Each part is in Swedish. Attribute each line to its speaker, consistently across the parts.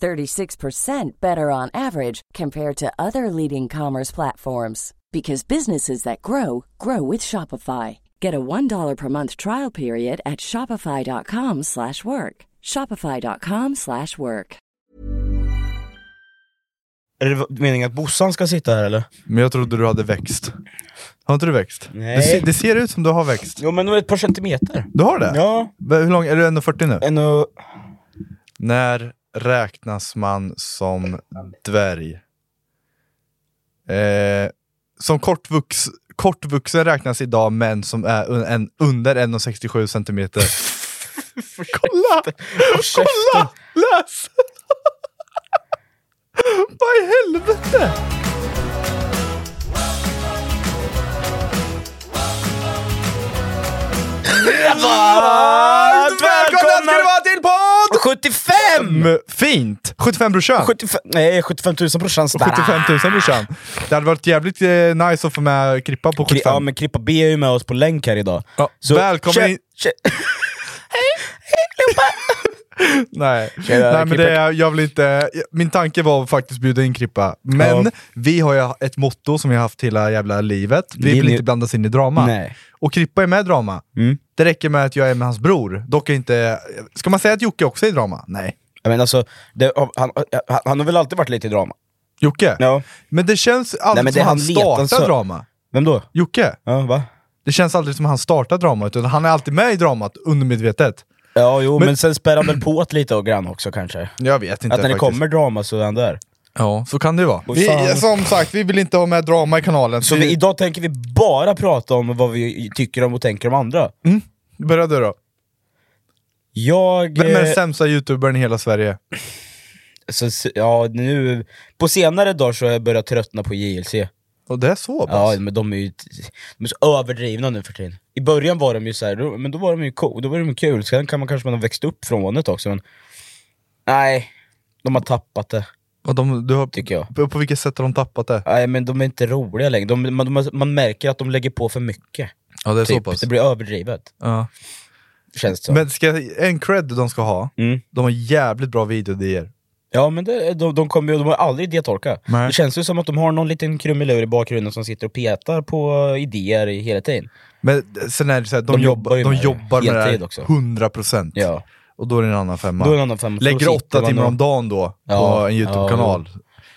Speaker 1: 36% better on average compared to other leading commerce platforms because businesses that grow grow with Shopify. Get a $1 per month trial period at shopify.com/work. slash work. shopify.com/work. slash work.
Speaker 2: Är det meningen att Bossan ska sitta här eller?
Speaker 3: Men jag trodde du hade växt. Har inte du växt?
Speaker 2: Nej.
Speaker 3: Det, ser, det ser ut som du har växt.
Speaker 2: Jo men nog ett par centimeter.
Speaker 3: Du har det?
Speaker 2: Ja,
Speaker 3: V- Hur lång, är du 1,40 nu?
Speaker 2: en och...
Speaker 3: När räknas man som dvärg? Eh, som kortvux, kortvuxen räknas idag män som är un, en, under 1,67 centimeter. Kolla! Kolla! Läs! Vad i helvete!
Speaker 2: Varmt
Speaker 3: Välkomna ska du vara till podd!
Speaker 2: 75!
Speaker 3: Mm, Fint! 75 brorsan.
Speaker 2: 75, nej, 75 000 brorsan.
Speaker 3: 75 000 brorsan. Det hade varit jävligt eh, nice att få med Krippa på
Speaker 2: Kri- Ja
Speaker 3: 75.
Speaker 2: men Krippa B är ju med oss på länk här idag.
Speaker 3: Ja, välkommen
Speaker 2: tjö-
Speaker 3: in-
Speaker 2: tjö-
Speaker 3: Nej,
Speaker 2: Tjena,
Speaker 3: Nej men det,
Speaker 2: Krippa.
Speaker 3: är- jag vill inte... Min tanke var att faktiskt bjuda in Krippa, men
Speaker 2: Ja.
Speaker 3: vi har ju ett motto som vi har haft hela jävla livet. Vi
Speaker 2: Vill
Speaker 3: vill
Speaker 2: ni-
Speaker 3: inte blandas in i drama.
Speaker 2: Nej.
Speaker 3: Och Krippa är med i drama.
Speaker 2: Mm.
Speaker 3: Det räcker med att jag är med hans bror. Dock är inte... Ska man säga att Jocke också är i drama? Nej.
Speaker 2: Ja, men alltså, det, han, han, han har väl alltid varit lite i drama?
Speaker 3: Jocke?
Speaker 2: Ja.
Speaker 3: Men det känns
Speaker 2: Nej,
Speaker 3: aldrig
Speaker 2: men det
Speaker 3: som han
Speaker 2: han letar
Speaker 3: startar
Speaker 2: så-
Speaker 3: drama.
Speaker 2: Vem då?
Speaker 3: Jocke?
Speaker 2: Ja, va?
Speaker 3: Det känns aldrig som han startar drama, utan han är alltid med i dramat undermedvetet.
Speaker 2: Ja, jo, men,
Speaker 3: Men-
Speaker 2: sen spär han väl på ett lite och grann också kanske. Att
Speaker 3: Jag vet inte
Speaker 2: när det
Speaker 3: faktiskt.
Speaker 2: kommer drama så är han där.
Speaker 3: Ja, så kan det ju vara.
Speaker 2: Och
Speaker 3: Vi,
Speaker 2: fan.
Speaker 3: som sagt, vi vill inte ha med drama i kanalen.
Speaker 2: Så vi, idag tänker vi bara prata om vad vi tycker om och tänker om andra.
Speaker 3: Börja du då.
Speaker 2: Jag...
Speaker 3: Vem är
Speaker 2: eh,
Speaker 3: den sämsta youtubern i hela Sverige?
Speaker 2: så, så- ja, nu, på senare dagar så har jag börjat tröttna på JLC.
Speaker 3: Och det är så
Speaker 2: Ja,
Speaker 3: pass?
Speaker 2: men de är ju de är så överdrivna nu för tiden. I början var de ju så här, då, men då var de ju cool, då var de ju kul. Sen kan man kanske man har växt upp från det också, men... Nej, de har tappat det,
Speaker 3: Och de, du har,
Speaker 2: tycker jag.
Speaker 3: på, på vilket sätt har de tappat det?
Speaker 2: Nej, men de är inte roliga längre. De, man, de, har- man märker att de lägger på för mycket.
Speaker 3: Ja, det är
Speaker 2: Typ. Det blir överdrivet,
Speaker 3: Ja.
Speaker 2: känns det som.
Speaker 3: Men ska, en cred de ska ha,
Speaker 2: Mm.
Speaker 3: de har jävligt bra videoidéer.
Speaker 2: Ja men det, de, de kommer ju, de har aldrig idétorka.
Speaker 3: Nej.
Speaker 2: Det känns ju som att de har någon liten krumelur i bakgrunden som sitter och petar på idéer i hela tiden.
Speaker 3: Men sen är det så här, de,
Speaker 2: De
Speaker 3: jobbar,
Speaker 2: jobbar ju
Speaker 3: de
Speaker 2: med det
Speaker 3: jobbar med det här
Speaker 2: heltid också.
Speaker 3: 100%.
Speaker 2: Ja.
Speaker 3: Och då är det en annan femma.
Speaker 2: Då är det en annan femma.
Speaker 3: Lägger
Speaker 2: Då sitter
Speaker 3: åtta
Speaker 2: man
Speaker 3: timmar
Speaker 2: och-
Speaker 3: om dagen då på
Speaker 2: Ja,
Speaker 3: en YouTube-kanal.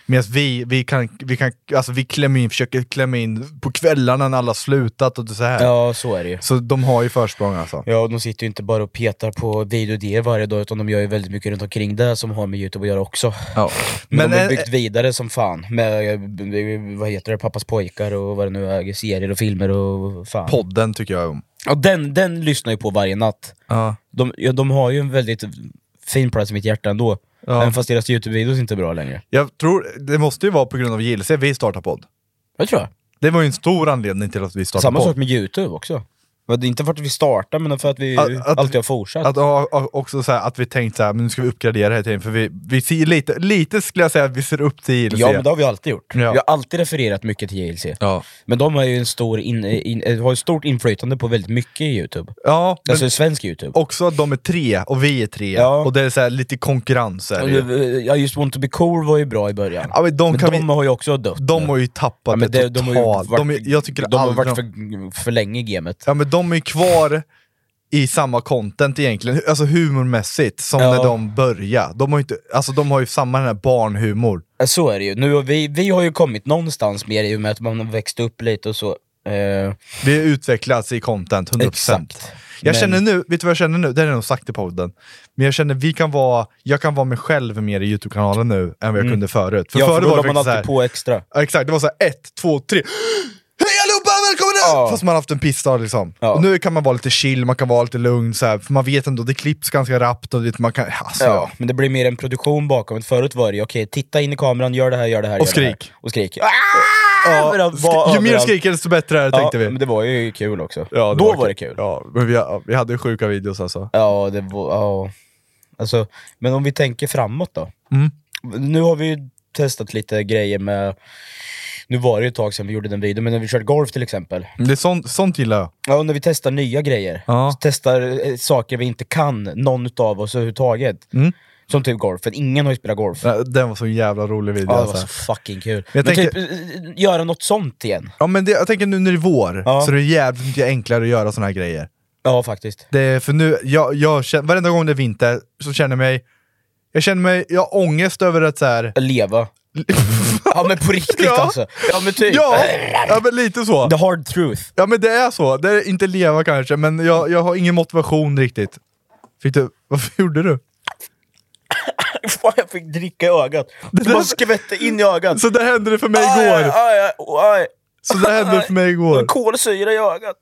Speaker 3: Medan vi, vi, kan, vi, kan, alltså vi klämmer in, försöker klämma in på kvällarna när alla slutat och så här.
Speaker 2: Ja, så är det ju.
Speaker 3: Så de har ju försprång alltså.
Speaker 2: Ja, de sitter ju inte bara och petar på videoidéer varje dag, utan de gör ju väldigt mycket runt omkring det som har med Youtube att göra också. Men,
Speaker 3: Men,
Speaker 2: de har ju
Speaker 3: eh,
Speaker 2: byggt vidare som fan med, eh, b- b- vad heter det, Pappas pojkar och vad det nu är, serier och filmer och fan.
Speaker 3: podden tycker jag om.
Speaker 2: Och den, den lyssnar ju på varje natt.
Speaker 3: Ja.
Speaker 2: De, ja, de har ju en väldigt fin plats i mitt hjärta ändå.
Speaker 3: Ja.
Speaker 2: Även fast deras Youtube-videos inte är bra längre.
Speaker 3: Jag tror, det måste ju vara på grund av JLC vi startar podd.
Speaker 2: Jag tror jag.
Speaker 3: Det var ju en stor anledning till att vi startade
Speaker 2: Samma
Speaker 3: podd.
Speaker 2: sak med Youtube också. Men det är inte för att vi startar men för att vi
Speaker 3: Att- att-
Speaker 2: alltid har fortsatt.
Speaker 3: Att, och, och, också så här, att vi tänkt så här, men nu ska vi uppgradera hela tiden, för vi, vi ser lite, lite skulle jag säga att vi ser upp till ILC.
Speaker 2: ja men det har vi alltid gjort.
Speaker 3: Ja.
Speaker 2: Vi har alltid refererat mycket till JLC.
Speaker 3: Ja.
Speaker 2: Men de har ju en stor in, in, eh, har ju stort inflytande på väldigt mycket i Youtube.
Speaker 3: Ja, men
Speaker 2: alltså svensk Youtube.
Speaker 3: också att de är tre och vi är tre,
Speaker 2: Ja.
Speaker 3: och det är så här, lite konkurrens. Är det. ju.
Speaker 2: Ja, just Want to be cool var ju bra i början.
Speaker 3: Ja, men de
Speaker 2: men
Speaker 3: kan
Speaker 2: de
Speaker 3: vi-
Speaker 2: har ju också dött
Speaker 3: De
Speaker 2: nu.
Speaker 3: har ju tappat
Speaker 2: Ja, men
Speaker 3: det,
Speaker 2: det- de har ju
Speaker 3: totalt.
Speaker 2: varit-
Speaker 3: De är- jag tycker
Speaker 2: De har
Speaker 3: aldrig
Speaker 2: varit
Speaker 3: de-
Speaker 2: för, för länge i gamet.
Speaker 3: Ja men de är kvar i samma content egentligen, alltså humormässigt, som
Speaker 2: Ja.
Speaker 3: när de började. De har ju, inte, alltså, de har ju samma den här barnhumor.
Speaker 2: Ja, Så är det ju. Nu har vi, vi har ju kommit någonstans mer i och med att man har växt upp lite och så. Eh,
Speaker 3: Det utvecklas i content, 100%.
Speaker 2: Exakt.
Speaker 3: Jag
Speaker 2: Men-
Speaker 3: känner nu, vet du vad jag känner nu? Det har jag nog sagt i podden. Men jag känner vi kan vara, jag kan vara mig själv mer i Youtube-kanalen nu än vad jag kunde förut. För
Speaker 2: Mm. ja, för
Speaker 3: förut
Speaker 2: då
Speaker 3: var
Speaker 2: la
Speaker 3: det
Speaker 2: man
Speaker 3: faktiskt
Speaker 2: alltid
Speaker 3: såhär,
Speaker 2: på extra.
Speaker 3: ja, exakt, det var såhär ett, två, tre. Hej allihopa, välkomna!
Speaker 2: Ja.
Speaker 3: Fast man har haft en pissdag liksom.
Speaker 2: Ja.
Speaker 3: Och nu kan man vara lite chill, man kan vara lite lugn, så här, för man vet ändå, det klipps ganska rappt och det, man kan... Alltså,
Speaker 2: Ja, men det blir mer en produktion bakom. Förut var det ju okej, titta in i kameran, gör det här, gör det här.
Speaker 3: Och
Speaker 2: gör det här.
Speaker 3: skrik.
Speaker 2: Och skrik. Ja,
Speaker 3: Ja,
Speaker 2: överallt,
Speaker 3: skri-
Speaker 2: var
Speaker 3: ju mer
Speaker 2: överallt.
Speaker 3: skriker desto bättre är det, tänkte
Speaker 2: ja,
Speaker 3: vi.
Speaker 2: Men det var ju kul också.
Speaker 3: Ja,
Speaker 2: Då var det kul. Ja,
Speaker 3: Ja, men vi, ja, vi hade sjuka videos alltså.
Speaker 2: det var... Ja. Alltså, men om vi tänker framåt då.
Speaker 3: Mm.
Speaker 2: Nu har vi ju testat lite grejer med... Nu var det ju ett tag sedan vi gjorde den videon, men när vi körde golf till exempel.
Speaker 3: Men Det är sånt, sånt gillar jag.
Speaker 2: Ja, och när vi testar nya grejer.
Speaker 3: Ja.
Speaker 2: Så Testar eh, saker vi inte kan, någon utav oss överhuvudtaget.
Speaker 3: Mm.
Speaker 2: Som typ golfen, ingen har ju spelat golf.
Speaker 3: Ja, Den var så jävla rolig video.
Speaker 2: Ja, det var
Speaker 3: alltså.
Speaker 2: så fucking kul. Men,
Speaker 3: jag
Speaker 2: typ, eh, göra något sånt igen.
Speaker 3: Ja men det, jag tänker nu när det är vår,
Speaker 2: Ja.
Speaker 3: så det är jävligt mycket enklare att göra såna här grejer.
Speaker 2: Ja, faktiskt.
Speaker 3: Det, är- för nu, jag, jag känner, varenda gång det är vinter så känner jag mig, jag känner mig, jag har ångest över att så här.
Speaker 2: Leva. ja, men på riktigt
Speaker 3: Ja.
Speaker 2: alltså. Ja, men typ.
Speaker 3: Ja, ja men lite så.
Speaker 2: The hard truth.
Speaker 3: Ja men det är så, det är inte leva kanske, men jag, jag har ingen motivation riktigt. Fick du, varför gjorde du?
Speaker 2: Fan, jag fick dricka i ögat. Det
Speaker 3: där-
Speaker 2: bara skvätte in i ögat.
Speaker 3: Så det hände det för mig
Speaker 2: Aj,
Speaker 3: igår!
Speaker 2: Aj, aj, aj.
Speaker 3: Så det hände för mig
Speaker 2: Det
Speaker 3: igår.
Speaker 2: var Kolsyra i ögat.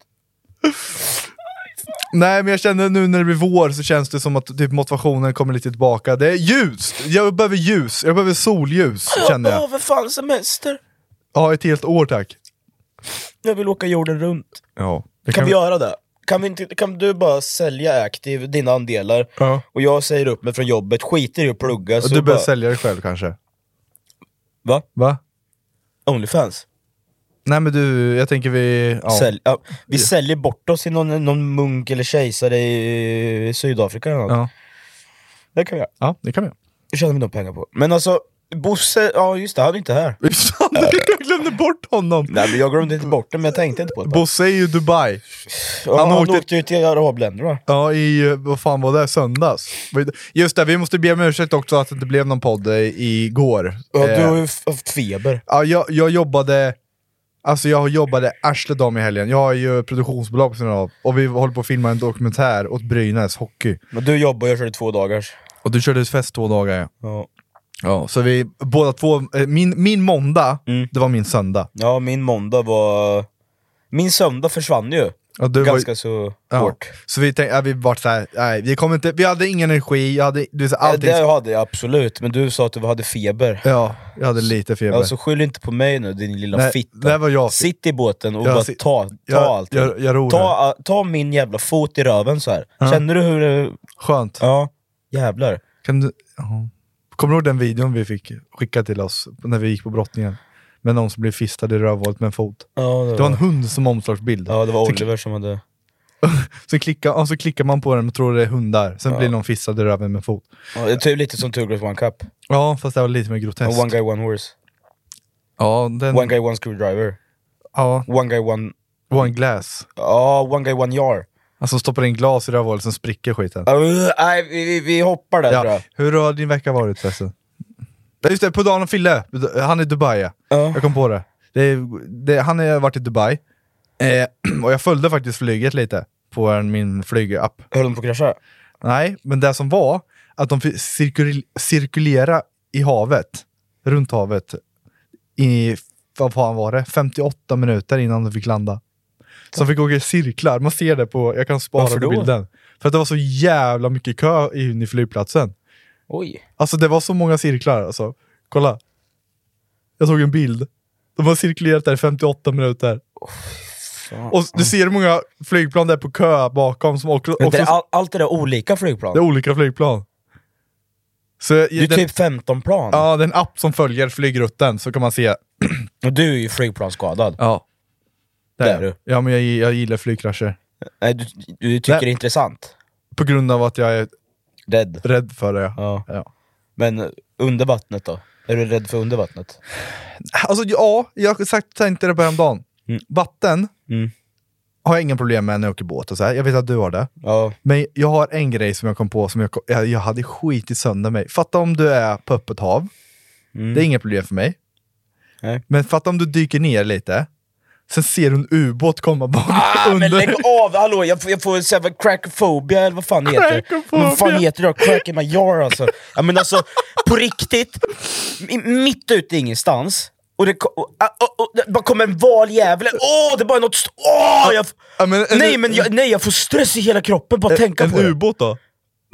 Speaker 3: Nej men jag känner nu när det blir vår så känns det som att typ, motivationen kommer lite tillbaka. Det är ljus! Jag behöver ljus, jag behöver solljus känner jag.
Speaker 2: Jag behöver fan semester.
Speaker 3: Ja, ett helt år tack.
Speaker 2: Jag vill åka jorden runt.
Speaker 3: Ja.
Speaker 2: Kan, vi göra det? Kan, vi inte, kan du bara sälja Active, dina andelar,
Speaker 3: Ja.
Speaker 2: och jag säger upp mig från jobbet, skiter i att plugga, så
Speaker 3: Du börjar
Speaker 2: bara...
Speaker 3: sälja dig själv kanske?
Speaker 2: Va?
Speaker 3: Va?
Speaker 2: Onlyfans?
Speaker 3: Nej men du, jag tänker vi... Ja.
Speaker 2: Sälj, ja, vi säljer bort oss till någon, någon munk eller kejsare i Sydafrika eller något.
Speaker 3: Ja.
Speaker 2: Det kan vi göra.
Speaker 3: ja, det kan vi göra.
Speaker 2: Det tjänar vi nog pengar på. Men alltså, Bosse, ja just det, han är inte här.
Speaker 3: Fan, jag glömde bort honom!
Speaker 2: Nej men jag glömde inte bort det, men jag tänkte inte på det.
Speaker 3: Bosse är ju i Dubai.
Speaker 2: Ja,
Speaker 3: han
Speaker 2: han,
Speaker 3: åkte-
Speaker 2: åkte... ju till arabländer va?
Speaker 3: Ja, i, eh, vad fan var det? Söndags? Vad är det- Just det, vi måste be om ursäkt också att det inte blev någon podd eh, igår.
Speaker 2: Ja, du
Speaker 3: Eh,
Speaker 2: har ju f- haft feber.
Speaker 3: Ja, jag, jag jobbade Alltså jag jobbade arslet om i helgen, jag har ju produktionsbolag på sidan av och vi håller på att filma en dokumentär åt Brynäs hockey.
Speaker 2: Men du jobbar och jag körde två dagars.
Speaker 3: Och du körde fest två dagar ja.
Speaker 2: Ja.
Speaker 3: ja. Så vi båda två, eh, min, min måndag,
Speaker 2: Mm.
Speaker 3: det var min söndag.
Speaker 2: ja, min måndag var... Min söndag försvann ju.
Speaker 3: Ja, du var ju-
Speaker 2: Ganska så
Speaker 3: Ja.
Speaker 2: hårt. Eh,
Speaker 3: Så vi tänkte, ja, vi vart såhär, nej vi kommer inte, vi hade ingen energi, jag hade, du, vet, så
Speaker 2: Ja,
Speaker 3: allting,
Speaker 2: det hade jag absolut, men du sa att du hade feber.
Speaker 3: ja, jag hade lite feber.
Speaker 2: Alltså skyll inte på mig nu din lilla
Speaker 3: Nej,
Speaker 2: fitta.
Speaker 3: det var jag.
Speaker 2: Sitt i båten och
Speaker 3: Jag
Speaker 2: bara
Speaker 3: sit-
Speaker 2: ta, ta
Speaker 3: jag-
Speaker 2: allting.
Speaker 3: jag- jag ror
Speaker 2: ta, ta min jävla fot i röven så här. Känner du hur det...
Speaker 3: Skönt.
Speaker 2: Ja, jävlar.
Speaker 3: Kan du, ja. Kommer du ihåg den videon vi fick skicka till oss när vi gick på brottningen? Med någon som blev fistad i rövhålet med en fot.
Speaker 2: Ja, det var,
Speaker 3: Det var en hund som omslagsbild.
Speaker 2: ja, det var
Speaker 3: Sen,
Speaker 2: Oliver som hade...
Speaker 3: sen, klickar, ja, så klickar man på den och tror det är hundar, sen blir någon fistad i röven med en fot.
Speaker 2: Ja, det är typ lite som Two Girls One Cup.
Speaker 3: Ja, fast det var lite mer groteskt.
Speaker 2: One guy one horse.
Speaker 3: ja, den,
Speaker 2: One guy one screwdriver.
Speaker 3: ja,
Speaker 2: One guy one...
Speaker 3: one glass.
Speaker 2: Ja, one guy one jar.
Speaker 3: Alltså stoppar in glas i rövhålet, sen spricker skiten.
Speaker 2: Uh, nej, vi, vi, vi hoppar där tror
Speaker 3: Ja.
Speaker 2: jag.
Speaker 3: Hur har din vecka varit förresten? Ja, Just det, på dagen om Fille, han är i Dubai ja. Jag kom på det. det, är- det han har varit i Dubai, eh, och jag följde faktiskt flyget lite på en, min flygapp.
Speaker 2: Höll de på att krascha?
Speaker 3: Nej, men det som var att de fick cirkul- cirkulera i havet, runt havet, i, vad fan var det, 58 minuter innan de fick landa. Så de fick åka i cirklar, man ser det på, jag kan spara
Speaker 2: Varför
Speaker 3: på
Speaker 2: då?
Speaker 3: bilden. För att det var så jävla mycket kö in i flygplatsen.
Speaker 2: Oj.
Speaker 3: Alltså det var så många cirklar alltså. Kolla. Jag tog en bild. De har cirkulerat där i 58 minuter.
Speaker 2: Så.
Speaker 3: Och du ser hur många flygplan det är på kö bakom som också...
Speaker 2: Men det är
Speaker 3: också
Speaker 2: all, allt det där olika flygplan.
Speaker 3: det är olika flygplan. Så det,
Speaker 2: det är typ 15 plan.
Speaker 3: ja, det är en app som följer flygrutten, så kan man se.
Speaker 2: Och du är ju flygplansskadad.
Speaker 3: Ja.
Speaker 2: Det är du.
Speaker 3: Ja, men jag, gi- jag gillar flygkrascher.
Speaker 2: Nej, du, du tycker
Speaker 3: Nej.
Speaker 2: det är intressant.
Speaker 3: På grund av att jag är
Speaker 2: Rädd.
Speaker 3: rädd för det.
Speaker 2: Ja.
Speaker 3: Ja.
Speaker 2: Men under vattnet då? Är du rädd för under vattnet?
Speaker 3: Alltså ja, jag har sagt, tänkte det på häromdagen. Vatten
Speaker 2: Mm.
Speaker 3: har jag inga problem med när jag åker båt och så här. Jag vet att du har det.
Speaker 2: Ja.
Speaker 3: Men jag har en grej som jag kom på som jag, kom, jag, jag hade skitit sönder mig. Fatta om du är på öppet hav. Det är inga problem för mig.
Speaker 2: Mm. Nej.
Speaker 3: Men fatta om du dyker ner lite. Sen ser du en ubåt komma bak
Speaker 2: Ah, men
Speaker 3: under.
Speaker 2: lägg av! Hallå, jag får, jag får säga vad- crackophobia eller vad fan det heter
Speaker 3: Crackophobia.
Speaker 2: Vad fan heter det? Crack in my jar alltså. Ja, men alltså, på riktigt, i- mitt ute i ingenstans, och det, ko- och, ah, och, och, det bara kommer en valjävel, åh det är bara något... st- Åh, jag, f-
Speaker 3: Ja, men en-
Speaker 2: nej, men jag, nej, jag får stress i hela kroppen bara att tänka
Speaker 3: en
Speaker 2: på det.
Speaker 3: ubåt då?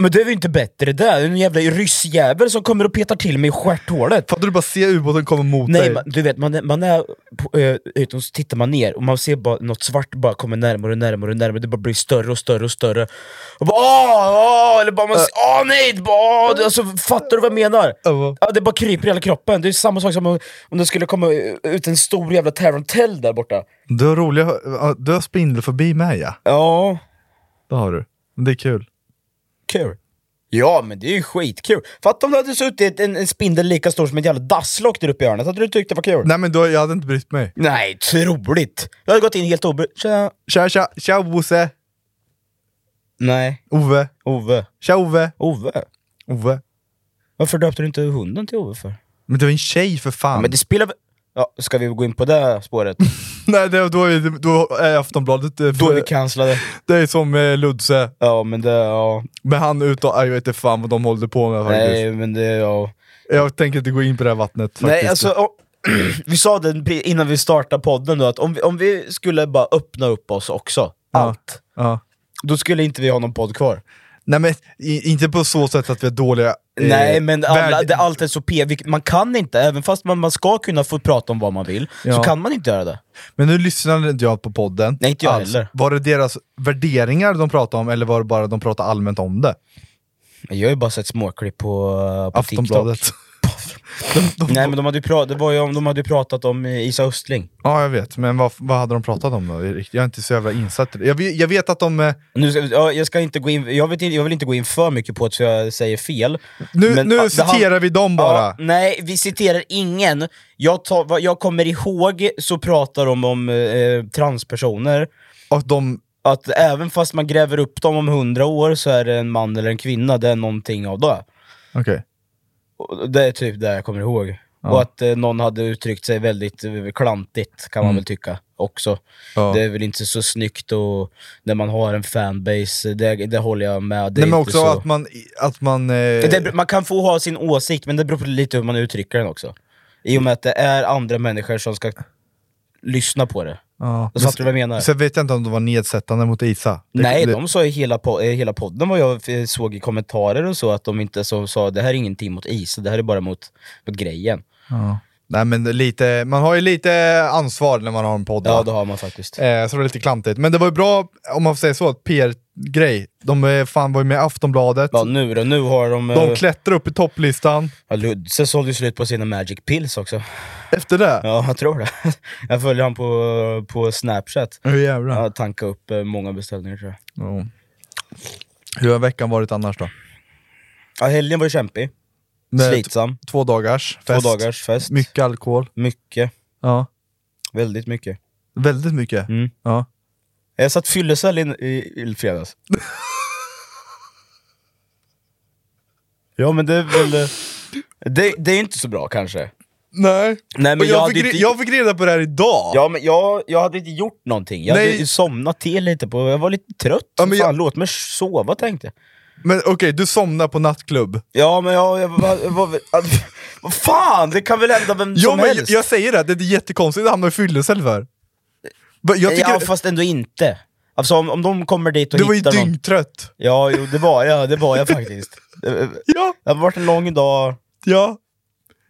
Speaker 2: Men det är ju inte bättre det, det är en jävla ryssjävel som kommer och petar till mig i stjärthålet.
Speaker 3: Fattar du bara se ubåten komma mot
Speaker 2: Nej,
Speaker 3: dig?
Speaker 2: man, du vet, man, är- man är på, eh, ute och så tittar man ner och man ser bara något svart bara kommer närmare och närmare och närmare, det bara blir större och större och större. Och bara åh, åh, eller bara man ser, åh nej! det Bara, åh, du- alltså, fattar du vad jag menar?
Speaker 3: Ja, vad-
Speaker 2: Ja, det bara kryper i hela kroppen, det är samma sak som om, om det skulle komma ut en stor jävla tarantell där borta.
Speaker 3: Du har roliga, ja, du har spindelfobi med ja.
Speaker 2: Ja,
Speaker 3: Det har du. Men Det är kul.
Speaker 2: kul. Ja men det är ju skitkul! Fatta om det hade suttit en, en spindel lika stor som ett jävla dasslock där uppe i hörnet, hade du tyckt det var kul?
Speaker 3: Nej men då, jag hade inte brytt mig.
Speaker 2: Nej, troligt! Jag hade gått in helt obrydd, tja...
Speaker 3: Tja tja, tja Bosse!
Speaker 2: Nej,
Speaker 3: Ove!
Speaker 2: Ove.
Speaker 3: Tja Ove!
Speaker 2: Ove?
Speaker 3: Ove!
Speaker 2: Varför döpte du inte hunden till Ove för?
Speaker 3: Men det var en tjej för fan!
Speaker 2: Men det spelar väl... Ja, ska vi gå in på det spåret?
Speaker 3: Nej, det, då, är, då är Aftonbladet... eh,
Speaker 2: Då är
Speaker 3: för-
Speaker 2: vi cancellade.
Speaker 3: Det är som eh, Ludse,
Speaker 2: Ja men det, ja...
Speaker 3: men han ut och, jag vet inte fan vad de håller på med faktiskt.
Speaker 2: Nej men det, ja...
Speaker 3: Jag tänker inte gå in på det här vattnet faktiskt.
Speaker 2: Nej alltså, om- vi sa det pre- innan vi startade podden då, att om vi, om vi skulle bara öppna upp oss också, allt,
Speaker 3: Ja.
Speaker 2: då skulle inte vi ha någon podd kvar.
Speaker 3: Nej men i, inte på så sätt att vi är dåliga... eh,
Speaker 2: Nej men alla,
Speaker 3: värd-
Speaker 2: det, allt är så p, vilket- man kan inte, även fast man, man ska kunna få prata om vad man vill, så
Speaker 3: Ja.
Speaker 2: kan man inte göra det.
Speaker 3: Men nu lyssnade inte jag på podden. Alltså,
Speaker 2: Nej, inte jag heller.
Speaker 3: Var det deras värderingar de pratade om, eller var det bara de pratade allmänt om det?
Speaker 2: Jag har ju bara sett småklipp på, eh, på TikTok.
Speaker 3: Aftonbladet. de, de,
Speaker 2: Nej men de hade ju pratat, det var ju om, de hade ju pratat om eh, Isa Östling.
Speaker 3: Ja, jag vet. Men vad, vad hade de pratat om då? Jag är inte så jävla insatt i det. Jag, vet- jag vet att de... eh,
Speaker 2: Nu, ska- ja, jag, ska inte gå in, jag, vet, inte- jag vill inte gå in för mycket på det så jag säger fel.
Speaker 3: Nu,
Speaker 2: Men, ah,
Speaker 3: nu
Speaker 2: det
Speaker 3: citerar
Speaker 2: han-
Speaker 3: vi dem bara.
Speaker 2: Ja, nej, vi citerar ingen. Jag, tar, vad jag kommer ihåg så pratar de om eh, transpersoner,
Speaker 3: Och de...
Speaker 2: att även fast man gräver upp dem om hundra år så är det en man eller en kvinna, det är någonting av det.
Speaker 3: Okej.
Speaker 2: Och Det är typ det jag kommer ihåg. Och att eh, någon hade uttryckt sig väldigt eh, klantigt, kan man väl tycka också.
Speaker 3: Mm. Ja.
Speaker 2: Det är väl inte så snyggt och när man har en fanbase, det, det håller jag med. Det är
Speaker 3: Nej, men
Speaker 2: inte
Speaker 3: också
Speaker 2: så...
Speaker 3: att man... Att man eh,
Speaker 2: Det, man kan få ha sin åsikt, men det beror på lite hur man uttrycker den också. I och med att det är andra människor som ska lyssna på det.
Speaker 3: ja.
Speaker 2: Fattar du vad jag menar?
Speaker 3: Sen vet jag inte om de var nedsättande mot Isa. Det-
Speaker 2: Nej,
Speaker 3: det,
Speaker 2: de sa i hela, po- eh, hela podden vad jag eh, såg i kommentarer och så, att de inte så, sa det här är ingenting mot is, det här är bara mot, mot grejen.
Speaker 3: Ja. Nej, men det är lite, man har ju lite ansvar när man har en podd.
Speaker 2: Ja,
Speaker 3: va?
Speaker 2: det har man faktiskt.
Speaker 3: Eh, så det var lite klantigt. Men det var ju bra, om man får säga så, att PR-grej. De eh, fan var ju med i Aftonbladet.
Speaker 2: Ja, nu då? Nu har de... eh,
Speaker 3: De klättrar upp i topplistan.
Speaker 2: ja, Ludse sålde ju slut på sina magic pills också.
Speaker 3: Efter det?
Speaker 2: Ja, jag tror det. Jag följer han på, på Snapchat.
Speaker 3: Hur jävlar.
Speaker 2: Jag tankade upp eh, många beställningar tror jag.
Speaker 3: Ja. Hur har veckan varit annars då?
Speaker 2: Ja, helgen var ju kämpig.
Speaker 3: Nej,
Speaker 2: Slitsam.
Speaker 3: t- Två dagars fest.
Speaker 2: Två dagars fest.
Speaker 3: Mycket alkohol.
Speaker 2: Mycket.
Speaker 3: Ja.
Speaker 2: Väldigt mycket.
Speaker 3: Väldigt mycket.
Speaker 2: Mm.
Speaker 3: Ja.
Speaker 2: Jag satt fyllecell i, i, i fredags. ja men det är väl... eh, Det, det är inte så bra kanske.
Speaker 3: Nej.
Speaker 2: Nej, men
Speaker 3: Och
Speaker 2: jag
Speaker 3: jag,
Speaker 2: hade
Speaker 3: fick, re-
Speaker 2: inte-
Speaker 3: jag fick reda på det här idag.
Speaker 2: Ja men jag, jag hade inte gjort någonting. Jag hade
Speaker 3: Nej.
Speaker 2: ju somnat till lite på... Jag var lite trött.
Speaker 3: Ja,
Speaker 2: men
Speaker 3: men
Speaker 2: Fan,
Speaker 3: jag-
Speaker 2: låt mig sova tänkte jag.
Speaker 3: Men okej, du somnade på nattklubb.
Speaker 2: Ja men jag... jag, var- jag, var- att- vad fan! Det kan väl hända vem
Speaker 3: Ja,
Speaker 2: som
Speaker 3: men jag,
Speaker 2: helst.
Speaker 3: jag säger det, det är jättekonstigt att hamna i fyllecell för. Va, Jag tycker
Speaker 2: Ja fast ändå inte. Alltså om, om de kommer dit och
Speaker 3: du var ju
Speaker 2: hittar någon...
Speaker 3: dyngtrött.
Speaker 2: Ja jo, det var jag. Det var jag faktiskt.
Speaker 3: Ja,
Speaker 2: Det har varit en lång dag.
Speaker 3: ja.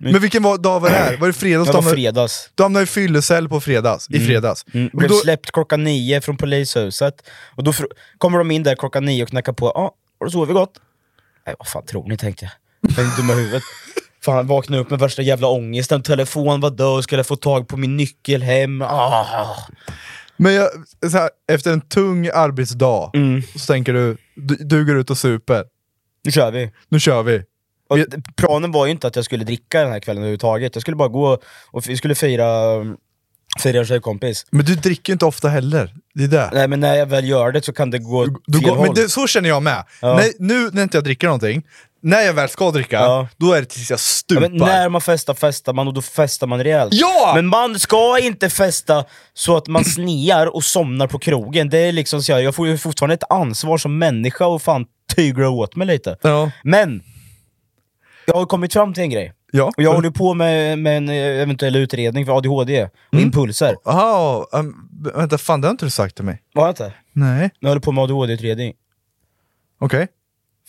Speaker 3: Men vilken var, dag var det här? Var det fredags?
Speaker 2: Det
Speaker 3: du
Speaker 2: var
Speaker 3: hamnade-
Speaker 2: fredags.
Speaker 3: Du hamnade i fyllecell på fredags, i fredags.
Speaker 2: Mm,
Speaker 3: Och
Speaker 2: blev
Speaker 3: då,
Speaker 2: släppt klockan nio från polishuset. Och då fr- kommer de in där klockan nio och knackar på. Ja, har du sovit gott? Nej, vad fan tror ni, tänkte jag. Den dumma huvudet. Fan, vaknade upp med värsta jävla ångesten. Telefon var död, skulle jag få tag på min nyckel hem. Ah.
Speaker 3: men jag, så här, efter en tung arbetsdag
Speaker 2: Mm.
Speaker 3: så tänker du, du, du går ut och super.
Speaker 2: Nu kör vi.
Speaker 3: Nu kör vi.
Speaker 2: Och
Speaker 3: Vi-
Speaker 2: d- planen var ju inte att jag skulle dricka den här kvällen överhuvudtaget. Jag skulle bara gå och vi skulle fira, um, fira en tjejkompis.
Speaker 3: Men du dricker ju inte ofta heller. Det är det.
Speaker 2: Nej men när jag väl gör det så kan det gå
Speaker 3: Du
Speaker 2: fel
Speaker 3: går,
Speaker 2: håll.
Speaker 3: men det, så känner jag med. Nej, nu när inte jag dricker någonting, när jag väl ska dricka,
Speaker 2: Ja.
Speaker 3: då är det tills jag
Speaker 2: Ja,
Speaker 3: stupar.
Speaker 2: men när man festar festar man och då festar man rejält.
Speaker 3: Ja!
Speaker 2: Men man ska inte festa så att man sniar och somnar på krogen. Det är liksom så jag, jag får ju fortfarande ett ansvar som människa och fan tygla åt mig lite.
Speaker 3: Ja.
Speaker 2: Men! Jag har kommit fram till en grej.
Speaker 3: Ja.
Speaker 2: Och jag håller ju på med, med en eh, eventuell utredning för ADHD och
Speaker 3: Mm.
Speaker 2: impulser.
Speaker 3: Jaha, um, vänta, fan det har inte du sagt till mig.
Speaker 2: Var jag inte?
Speaker 3: Nej.
Speaker 2: Jag håller på med ADHD-utredning.
Speaker 3: Okej.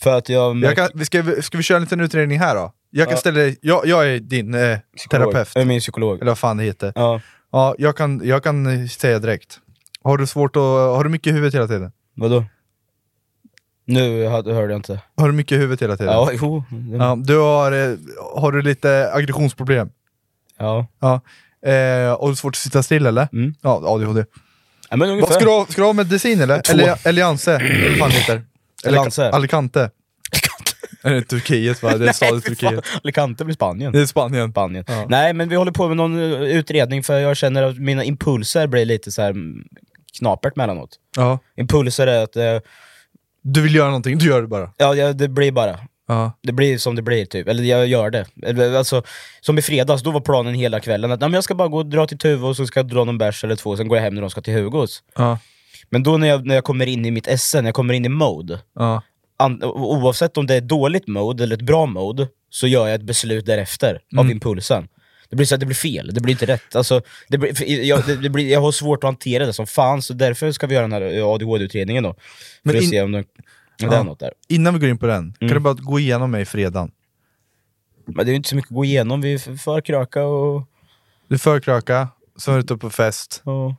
Speaker 2: För att jag...
Speaker 3: Jag kan- vi Ska, vi- ska vi köra en liten utredning här då? Jag kan ställa dig, jag, jag är din eh,
Speaker 2: Psykolog.
Speaker 3: terapeut,
Speaker 2: Jag är min psykolog.
Speaker 3: eller vad fan det heter. Ja.
Speaker 2: Ja,
Speaker 3: jag, kan, jag kan eh, säga direkt. Har du svårt att, har du mycket i huvudet hela tiden?
Speaker 2: vadå? Nu hade- hörde jag inte.
Speaker 3: Har du mycket i huvudet hela tiden?
Speaker 2: Ja, jo.
Speaker 3: Ja, du har, eh, har du lite aggressionsproblem?
Speaker 2: Ja.
Speaker 3: Ja. Eh, och du har svårt att sitta still eller?
Speaker 2: Mm.
Speaker 3: Ja, ADHD.
Speaker 2: Ja, men ungefär.
Speaker 3: Vad ska, du ha, ska du ha medicin eller?
Speaker 2: Två.
Speaker 3: Eller Alliance? eller vad fan heter? Eller-
Speaker 2: Alliance.
Speaker 3: Alicante. Är det Turkiet va? Det är staden i Turkiet.
Speaker 2: Alicante blir Spanien.
Speaker 3: Det är Spanien.
Speaker 2: Spanien.
Speaker 3: Ja.
Speaker 2: Nej men vi håller på med någon eh, utredning för jag känner att mina impulser blir lite så här mm, knapert mellanåt.
Speaker 3: Ja.
Speaker 2: Impulser är att, eh,
Speaker 3: Du vill göra någonting, du gör det bara.
Speaker 2: ja ja, det blir bara.
Speaker 3: Ja.
Speaker 2: Det blir som det blir typ, eller jag gör det. Eller, Alltså, som i fredags, då var planen hela kvällen att nej, men jag ska bara gå och dra till Tuve och så ska jag dra någon bärs eller två, sen går jag hem när de ska till Hugos.
Speaker 3: Ja.
Speaker 2: Men då när jag, när jag kommer in i mitt SN, när jag kommer in i mode,
Speaker 3: Ja.
Speaker 2: an, o- oavsett om det är ett dåligt mode eller ett bra mode, så gör jag ett beslut därefter av
Speaker 3: Mm.
Speaker 2: impulsen. Det blir så att det blir fel, det blir inte rätt. Alltså, det blir, för jag, det, det blir, jag har svårt att hantera det som fan, så därför ska vi göra den här ADHD-utredningen då.
Speaker 3: Men
Speaker 2: för att
Speaker 3: in-
Speaker 2: se om det, om det
Speaker 3: Ja.
Speaker 2: är något där. Mm.
Speaker 3: Innan vi går in på den, kan du bara gå igenom mig fredagen?
Speaker 2: Men det är ju inte så mycket att gå igenom, vi är för- för kröka och,
Speaker 3: Du förkröka, sen är du ute på fest,
Speaker 2: och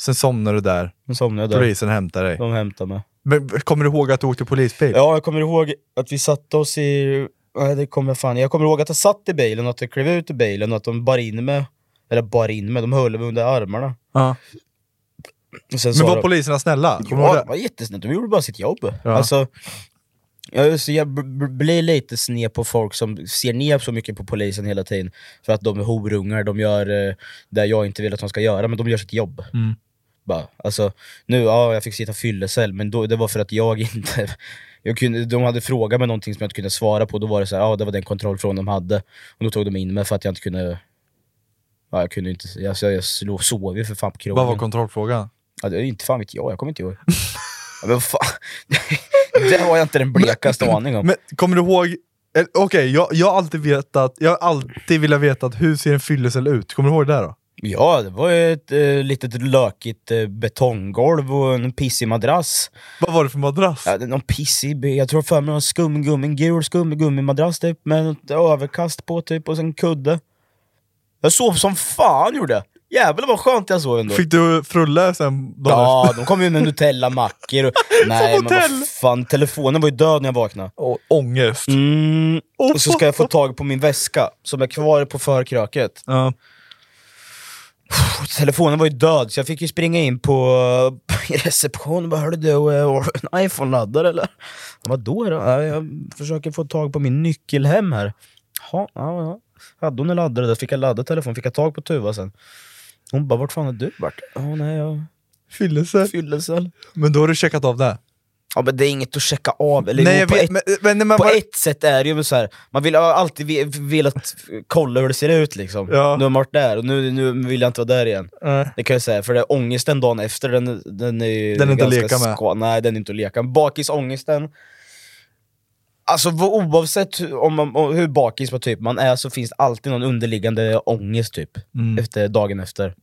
Speaker 3: sen somnar du där,
Speaker 2: nu somnade jag där.
Speaker 3: polisen hämtar dig.
Speaker 2: De hämtade mig.
Speaker 3: Men kommer du ihåg att du åkte polisbil?
Speaker 2: Ja, jag kommer ihåg att vi satte oss i... Nej, det kommer jag fan Jag kommer ihåg att jag satt i bilen, och att jag klev ut ur bilen och att de bar in mig. Eller bar in mig, de höll mig under armarna.
Speaker 3: Ja.
Speaker 2: Och sen
Speaker 3: Men
Speaker 2: sa
Speaker 3: var
Speaker 2: de-
Speaker 3: poliserna snälla? Kommer du
Speaker 2: Ja,
Speaker 3: ihåg
Speaker 2: det
Speaker 3: det?
Speaker 2: var jättesnällt. De gjorde bara sitt jobb.
Speaker 3: Ja.
Speaker 2: Alltså, jag, är så- jag b- b- blir lite sned på folk som ser ner så mycket på polisen hela tiden för att de är horungar, de gör eh, det jag inte vill att de ska göra, men de gör sitt jobb.
Speaker 3: Mm.
Speaker 2: Bara, alltså, nu, ja, jag fick sitta fyllecell, men då, det var för att jag inte... Jag kunde, de hade frågat mig någonting som jag inte kunde svara på, då var det så här, ja det var den kontrollfrågan de hade. Och då tog de in mig för att jag inte kunde... Ja, jag kunde inte... Jag, jag, jag slå- sov ju för fan på krogen.
Speaker 3: Vad var kontrollfrågan?
Speaker 2: Ja, det är inte fan vet jag, jag kommer inte ihåg. ja, men fan. det har jag inte den blekaste aning om.
Speaker 3: Men kommer du ihåg, eller, okej jag, jag har alltid vetat, jag har alltid velat veta att hur ser en fyllecell ut? Kommer du ihåg det där då?
Speaker 2: Ja, det var ju ett eh, litet lökigt eh, betonggolv och en pissig madrass.
Speaker 3: Vad var det för madrass?
Speaker 2: Ja, det är någon pissig, be- jag tror för mig någon skumgummi, en gul skumgummimadrass typ med ett överkast på typ och sen kudde. Jag sov som fan gjorde jag! Jävlar vad skönt jag sov ändå.
Speaker 3: Fick du frulle sen? dagen
Speaker 2: Ja,
Speaker 3: efter?
Speaker 2: de kom ju med Nutella-mackor och... Nej men
Speaker 3: hotell.
Speaker 2: vad fan, telefonen var ju död när jag vaknade.
Speaker 3: Åh, ångest.
Speaker 2: Mm.
Speaker 3: Åh,
Speaker 2: Och så ska jag få tag på min väska som är kvar på förkröket.
Speaker 3: Ja.
Speaker 2: Pff, Telefonen var ju död så jag fick ju springa in på på receptionen och bara “Hörru du, eh, har du en iPhone-laddare eller?” ja, “Vadå då? Ja, jag försöker få tag på min nyckel hem här.” “Jaha, ja, ja. Hade hon en laddare? Där fick jag ladda telefonen, fick jag tag på Tuva sen. Hon bara “Vart fan har du varit?” “Ja, nej, jag
Speaker 3: Fyllecell.
Speaker 2: fyllecell.”
Speaker 3: Men då har du checkat av det?
Speaker 2: Ja men det är inget att checka av, eller jo,
Speaker 3: Nej, jag
Speaker 2: på
Speaker 3: vet,
Speaker 2: ett
Speaker 3: men, eh, men, men,
Speaker 2: på
Speaker 3: var-
Speaker 2: ett sätt är det ju så här. man vill har alltid ve- velat kolla hur det ser ut liksom.
Speaker 3: Ja.
Speaker 2: Nu har man varit där och nu, nu vill jag inte vara där igen.
Speaker 3: Nej.
Speaker 2: Det kan jag säga, för det är ångesten dagen efter, den, den är ju
Speaker 3: Den är inte att
Speaker 2: ganska
Speaker 3: leka med.
Speaker 2: ska- Nej, den är inte att leka med. Bakisångesten, alltså vad- oavsett hur- om man, om hur bakis på typ man är så finns det alltid någon underliggande ångest typ,
Speaker 3: Mm.
Speaker 2: efter dagen efter.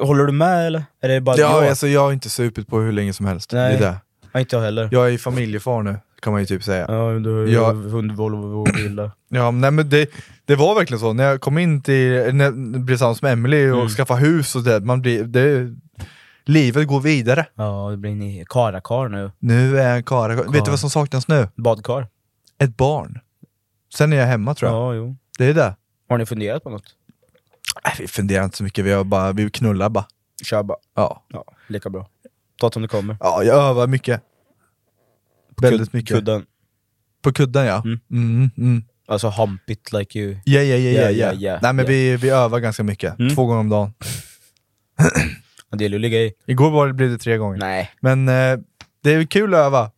Speaker 2: Håller du med eller? Är det bara
Speaker 3: ja,
Speaker 2: jag?
Speaker 3: alltså, jag har inte supit på hur länge som helst. Det
Speaker 2: Nej.
Speaker 3: är det.
Speaker 2: Ja, inte jag heller.
Speaker 3: Jag är familjefar nu. kan man ju typ säga.
Speaker 2: Ja, du har ju
Speaker 3: Ja.
Speaker 2: hund, Volvo och villa.
Speaker 3: Ja, men nej, men det, det var verkligen så. När jag kom in till, när jag blev tillsammans med Emily
Speaker 2: Mm.
Speaker 3: och skaffade hus och det, man blir, det, livet går vidare.
Speaker 2: Ja, det blir en karakar nu.
Speaker 3: Nu är en kara. Vet du vad som saknas nu?
Speaker 2: Badkar.
Speaker 3: Ett barn. Sen är jag hemma tror jag.
Speaker 2: Ja, jo.
Speaker 3: Det är det.
Speaker 2: Har ni funderat på något?
Speaker 3: Nej, vi funderar inte så mycket, vi, har bara, vi knullar bara.
Speaker 2: Kör bara.
Speaker 3: Ja.
Speaker 2: Ja, lika bra. Ta det som det kommer.
Speaker 3: ja, jag övar mycket. Väldigt
Speaker 2: Kud-
Speaker 3: mycket.
Speaker 2: Kudden.
Speaker 3: På kudden ja.
Speaker 2: Mm.
Speaker 3: Mm, mm.
Speaker 2: Alltså hump it like you...
Speaker 3: Ja, ja, ja, ja,
Speaker 2: Ja,
Speaker 3: ja.
Speaker 2: ja, ja,
Speaker 3: Nej men
Speaker 2: ja.
Speaker 3: vi, vi övar ganska mycket.
Speaker 2: Mm.
Speaker 3: Två gånger om dagen.
Speaker 2: Det gäller att ligga i.
Speaker 3: Igår var det, blev det tre gånger.
Speaker 2: Nej.
Speaker 3: Men eh, det är kul att öva.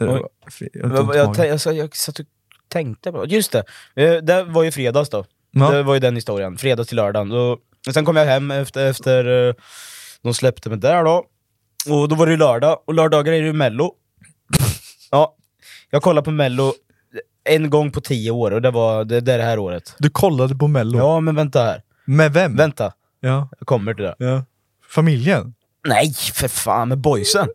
Speaker 2: Oj.
Speaker 3: Fy-
Speaker 2: Jag,
Speaker 3: Eh, jag har
Speaker 2: jag,
Speaker 3: inte ont i magen.
Speaker 2: jag, jag, jag satt och tänkte på Just det. Eh, Det var ju fredags då.
Speaker 3: Ja.
Speaker 2: Det var ju den historien. Fredags till lördagen. Då, och sen kom jag hem efter, efter eh, de släppte mig där då. Och då var det ju lördag, och lördagar är det ju mello. ja, jag kollade på mello en gång på tio år, och det var det, det, är det här året.
Speaker 3: Du kollade på mello?
Speaker 2: Ja, men vänta här.
Speaker 3: Med vem?
Speaker 2: Vänta,
Speaker 3: Ja.
Speaker 2: jag kommer till det.
Speaker 3: ja. Familjen?
Speaker 2: Nej, för fan med boysen.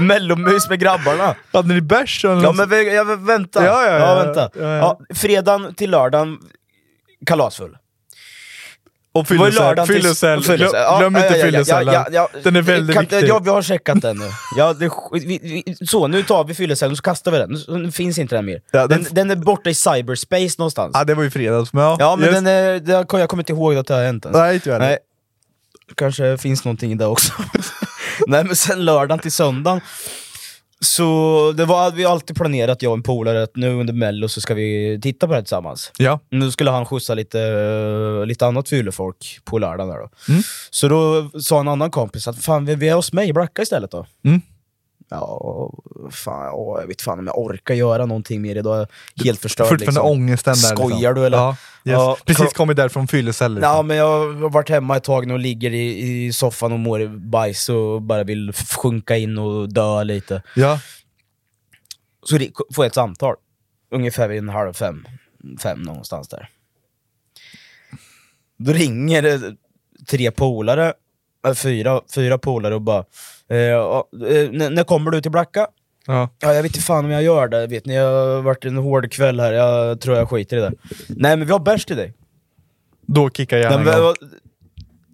Speaker 2: Mellomys med grabbarna.
Speaker 3: Hade ni bärs eller
Speaker 2: Ja
Speaker 3: något
Speaker 2: men
Speaker 3: sånt?
Speaker 2: vä- ja, men vänta.
Speaker 3: Mm. Ja, ja, ja,
Speaker 2: vänta.
Speaker 3: ja, ja.
Speaker 2: fredagen till lördagen, kalasfull.
Speaker 3: Och
Speaker 2: Det var ju
Speaker 3: fyllecell,
Speaker 2: lördagen till-
Speaker 3: fyllecell.
Speaker 2: fyllecell.
Speaker 3: Glöm, glöm inte fyllecellen. Den är väldigt
Speaker 2: kan,
Speaker 3: viktig.
Speaker 2: Ja, vi har checkat den nu. Ja, det, är sk- vi, vi, så, nu tar vi fyllecellen och så kastar vi den. Så, Nu finns inte den mer.
Speaker 3: Ja, den-
Speaker 2: den, den är borta i cyberspace någonstans.
Speaker 3: Ja, det var ju fredags, men ja.
Speaker 2: ja, men
Speaker 3: just-
Speaker 2: den är, det, har- jag kommer inte ihåg att det har hänt ens.
Speaker 3: Nej, tyvärr.
Speaker 2: Nej. Kanske finns någonting i det också. Nej men sen lördagen till söndagen, så det var, vi har alltid planerat, jag och en polare, att nu under mello så ska vi titta på det här tillsammans.
Speaker 3: Ja.
Speaker 2: Nu skulle han skjutsa lite, eh, lite annat fyllefolk på lördagen. Där då.
Speaker 3: Mm.
Speaker 2: Så då sa en annan kompis att fan, vi, vi är hos mig i Blacka istället då.
Speaker 3: Mm.
Speaker 2: Ja, fan, åh, jag vet fan om jag orkar göra någonting mer idag. Jag är Helt förstörd
Speaker 3: Fortfarande
Speaker 2: liksom.
Speaker 3: ångesten där.
Speaker 2: Skojar
Speaker 3: liksom.
Speaker 2: du eller?
Speaker 3: Ja, yes.
Speaker 2: Ja,
Speaker 3: Precis
Speaker 2: klo-
Speaker 3: kommit där från fyllecell.
Speaker 2: Ja,
Speaker 3: Liksom.
Speaker 2: men jag har varit hemma ett tag nu och ligger i, i soffan och mår bajs och bara vill f- sjunka in och dö lite.
Speaker 3: Ja.
Speaker 2: Så ri- får jag ett samtal, ungefär vid en halv fem, fem någonstans där. Då ringer det tre polare, äh, fyra, fyra polare och bara eh, ja, eh, "När- När kommer du till Blacka?”
Speaker 3: Ja.
Speaker 2: Ja, jag vet inte fan om jag gör det, vet ni, jag har varit en hård kväll här, jag tror jag skiter i det. Nej men vi har bärs till dig.
Speaker 3: Då kickar
Speaker 2: Nej,
Speaker 3: hjärnan
Speaker 2: men,
Speaker 3: igång.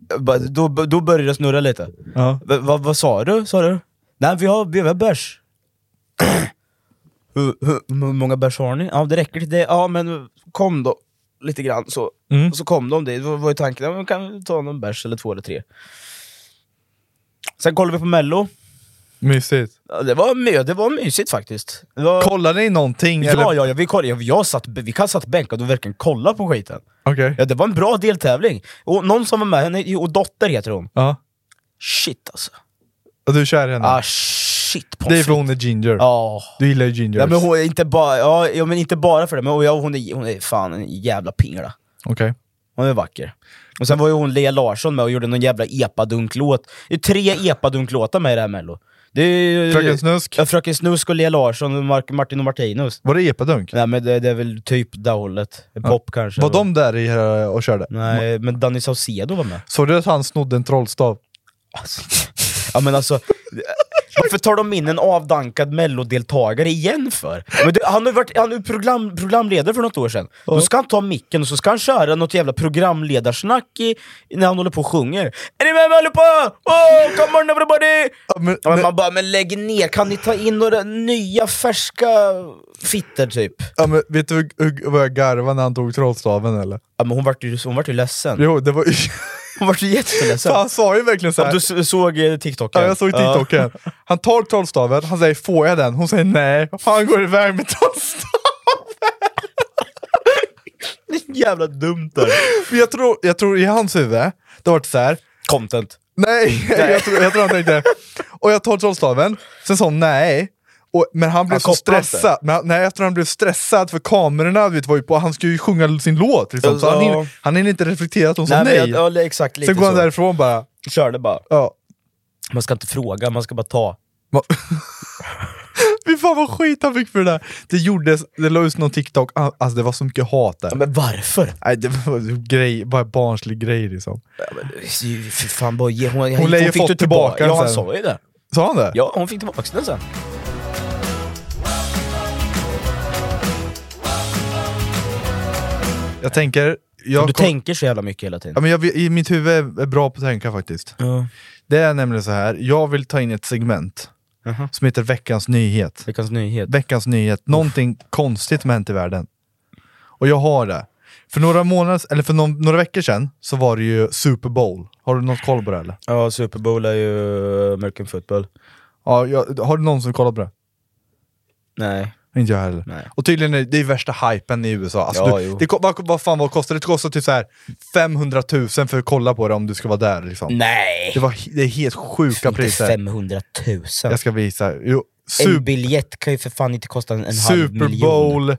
Speaker 2: vad- bara- då, då började det snurra lite.
Speaker 3: Ja.
Speaker 2: Va- va- vad sa du? Sa du? Nej, vi har, vi har bärs. hur, hur, hur många bärs har ni? Ja, det räcker till det. Ja, men kom då. Lite grann så.
Speaker 3: Mm.
Speaker 2: Och så kom de dit. Vad var ju tanken? Ja, men kan vi ta någon bärs eller två eller tre. Sen kollade vi på mello.
Speaker 3: Mysigt.
Speaker 2: Ja, det, var my, det var mysigt faktiskt. Det var,
Speaker 3: Kollade ni någonting?
Speaker 2: ja,
Speaker 3: eller?
Speaker 2: ja, ja, vi kollade. Jag, jag satt, vi kan satt bänkade och verkligen kollade på skiten.
Speaker 3: Okej.
Speaker 2: Ja, det var en bra deltävling. Och någon som var med, henne, jo, och Dotter heter hon.
Speaker 3: Ja.
Speaker 2: Shit alltså.
Speaker 3: Och du är kär i henne?
Speaker 2: Ah, shit på
Speaker 3: det är för hon är ginger.
Speaker 2: Ja.
Speaker 3: Du gillar ju gingers.
Speaker 2: Ja, men hon är inte bara, ja, ja, men inte bara för det, men hon, ja, hon, är, hon är fan en jävla pingla.
Speaker 3: Okej.
Speaker 2: Hon är vacker. Och sen var ju hon Lea Larsson med och gjorde någon jävla epadunk-låt. Det är tre epadunk-låtar med i det här mello. Det är, ju-
Speaker 3: Fröken Snusk?
Speaker 2: Ja, Fröken Snusk och Lea Larsson och Mark, Martin och Martinus.
Speaker 3: Var det epadunk?
Speaker 2: Nej men det, det är väl typ det hållet. Pop kanske.
Speaker 3: Var de där i, eh, och körde?
Speaker 2: Nej, men Danny Saucedo var med.
Speaker 3: Såg du att han snodde en trollstav?
Speaker 2: Ja men alltså, varför tar de in en avdankad mellodeltagare igen för? Men det, han har ju varit han är ju program, programledare för något år sedan. Då ska han ta micken och så ska han köra något jävla programledarsnack i, när han håller på och sjunger. Är ni med mig allihopa? Oh, come on everybody!
Speaker 3: men,
Speaker 2: Ja, men man bara, men lägg ner, kan ni ta in några nya färska fitter typ?
Speaker 3: ja, men, vet du hur- hur- vad jag garvade när han tog trollstaven eller?
Speaker 2: Ja, men hon vart ju, hon vart ju ledsen.
Speaker 3: Jo, det var
Speaker 2: Hon vart ju jätteledsen.
Speaker 3: Han sa ju verkligen
Speaker 2: Ja,
Speaker 3: såhär.
Speaker 2: du s- såg eh, TikToken?
Speaker 3: Ja, jag såg TikToken. Han tar trollstaven, han säger får jag den? Hon säger nej. Han går iväg med trollstaven.
Speaker 2: Jävla dumt där.
Speaker 3: Men Jag tror, jag tror i hans huvud, det har varit såhär.
Speaker 2: Content.
Speaker 3: Nej, Jag, tror, jag tror han tänkte. Och jag tar trollstaven, sen sa hon nej. Och, men han blev
Speaker 2: Han
Speaker 3: så
Speaker 2: kopplade inte.
Speaker 3: stressad, men han, nej, jag tror han blev stressad för kamerorna vet, var ju på, han skulle ju sjunga sin låt. Liksom. Så han
Speaker 2: Ja.
Speaker 3: hinner han hinner inte reflektera att hon sa
Speaker 2: Nej,
Speaker 3: nej.
Speaker 2: men jag, ja, exakt, lite
Speaker 3: sen går han
Speaker 2: så.
Speaker 3: därifrån bara.
Speaker 2: Körde bara.
Speaker 3: Ja.
Speaker 2: Man ska inte fråga, man ska bara ta.
Speaker 3: Ma- Vi fan vad skit han fick för det där. Det gjordes, det la ut någon TikTok, Ah, alltså det var så mycket hat där.
Speaker 2: Ja, men varför?
Speaker 3: Nej, det var grej, bara barnslig grej liksom.
Speaker 2: Fy fan, bara ge, hon,
Speaker 3: Hon lär ju fått
Speaker 2: ju
Speaker 3: tillbaka den
Speaker 2: Ja, han
Speaker 3: sen.
Speaker 2: sa ju det.
Speaker 3: Sa han det?
Speaker 2: Ja, hon fick tillbaka den sen.
Speaker 3: Jag tänker... Jag
Speaker 2: Du
Speaker 3: kom-
Speaker 2: tänker så jävla mycket hela
Speaker 3: ja,
Speaker 2: tiden.
Speaker 3: men jag, vill- i mitt huvud är bra på att tänka faktiskt.
Speaker 2: Ja.
Speaker 3: Det är nämligen så här, jag vill ta in ett segment som heter veckans nyhet.
Speaker 2: Veckans nyhet.
Speaker 3: Veckans nyhet, någonting konstigt som hänt i världen. Och jag har det. För några månader, eller för någon, några veckor sedan så var det ju Super Bowl. Har du något koll på det eller?
Speaker 2: Ja, Super Bowl är
Speaker 3: eh,
Speaker 2: ju American football.
Speaker 3: Ja, jag, har du någon som kollar på det?
Speaker 2: Nej.
Speaker 3: Inte jag heller.
Speaker 2: Nej.
Speaker 3: Och tydligen är det är värsta hypen i USA. Alltså,
Speaker 2: Ja,
Speaker 3: du,
Speaker 2: jo.
Speaker 3: det, ko- vad, vad fan vad kostar det? Det kostar typ så här 500 000 för att kolla på det om du ska vara där. Liksom.
Speaker 2: Nej!
Speaker 3: Det, var, he- det är helt sjuka
Speaker 2: Inte
Speaker 3: priser.
Speaker 2: 500 000.
Speaker 3: Jag ska visa. Jo,
Speaker 2: En
Speaker 3: sup,
Speaker 2: biljett kan ju för fan inte kosta en, en halv
Speaker 3: Super
Speaker 2: miljon.
Speaker 3: Bowl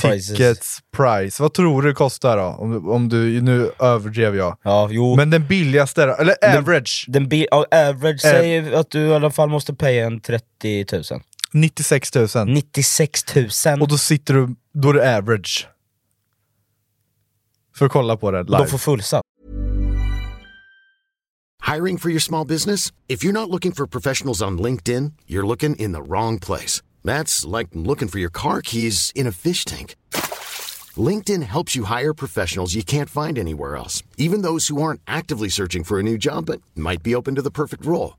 Speaker 2: Prices.
Speaker 3: tickets price. Vad tror du det kostar då? Om, om du, nu överdrev jag.
Speaker 2: Ja, jo.
Speaker 3: Men den billigaste, då? eller
Speaker 2: Den-
Speaker 3: average,
Speaker 2: Den bi- ja, average säger att du i alla fall måste paya en 30 000.
Speaker 3: 96 000.
Speaker 2: 96 000.
Speaker 3: Och då sitter du, då är det average. För att kolla på det live.
Speaker 2: de får fullsatt.
Speaker 4: Hiring for your small business? If you're not looking for professionals on LinkedIn, you're looking in the wrong place. That's like looking for your car keys in a fish tank. LinkedIn helps you hire professionals you can't find anywhere else, even those who aren't actively searching for a new job but might be open to the perfect role.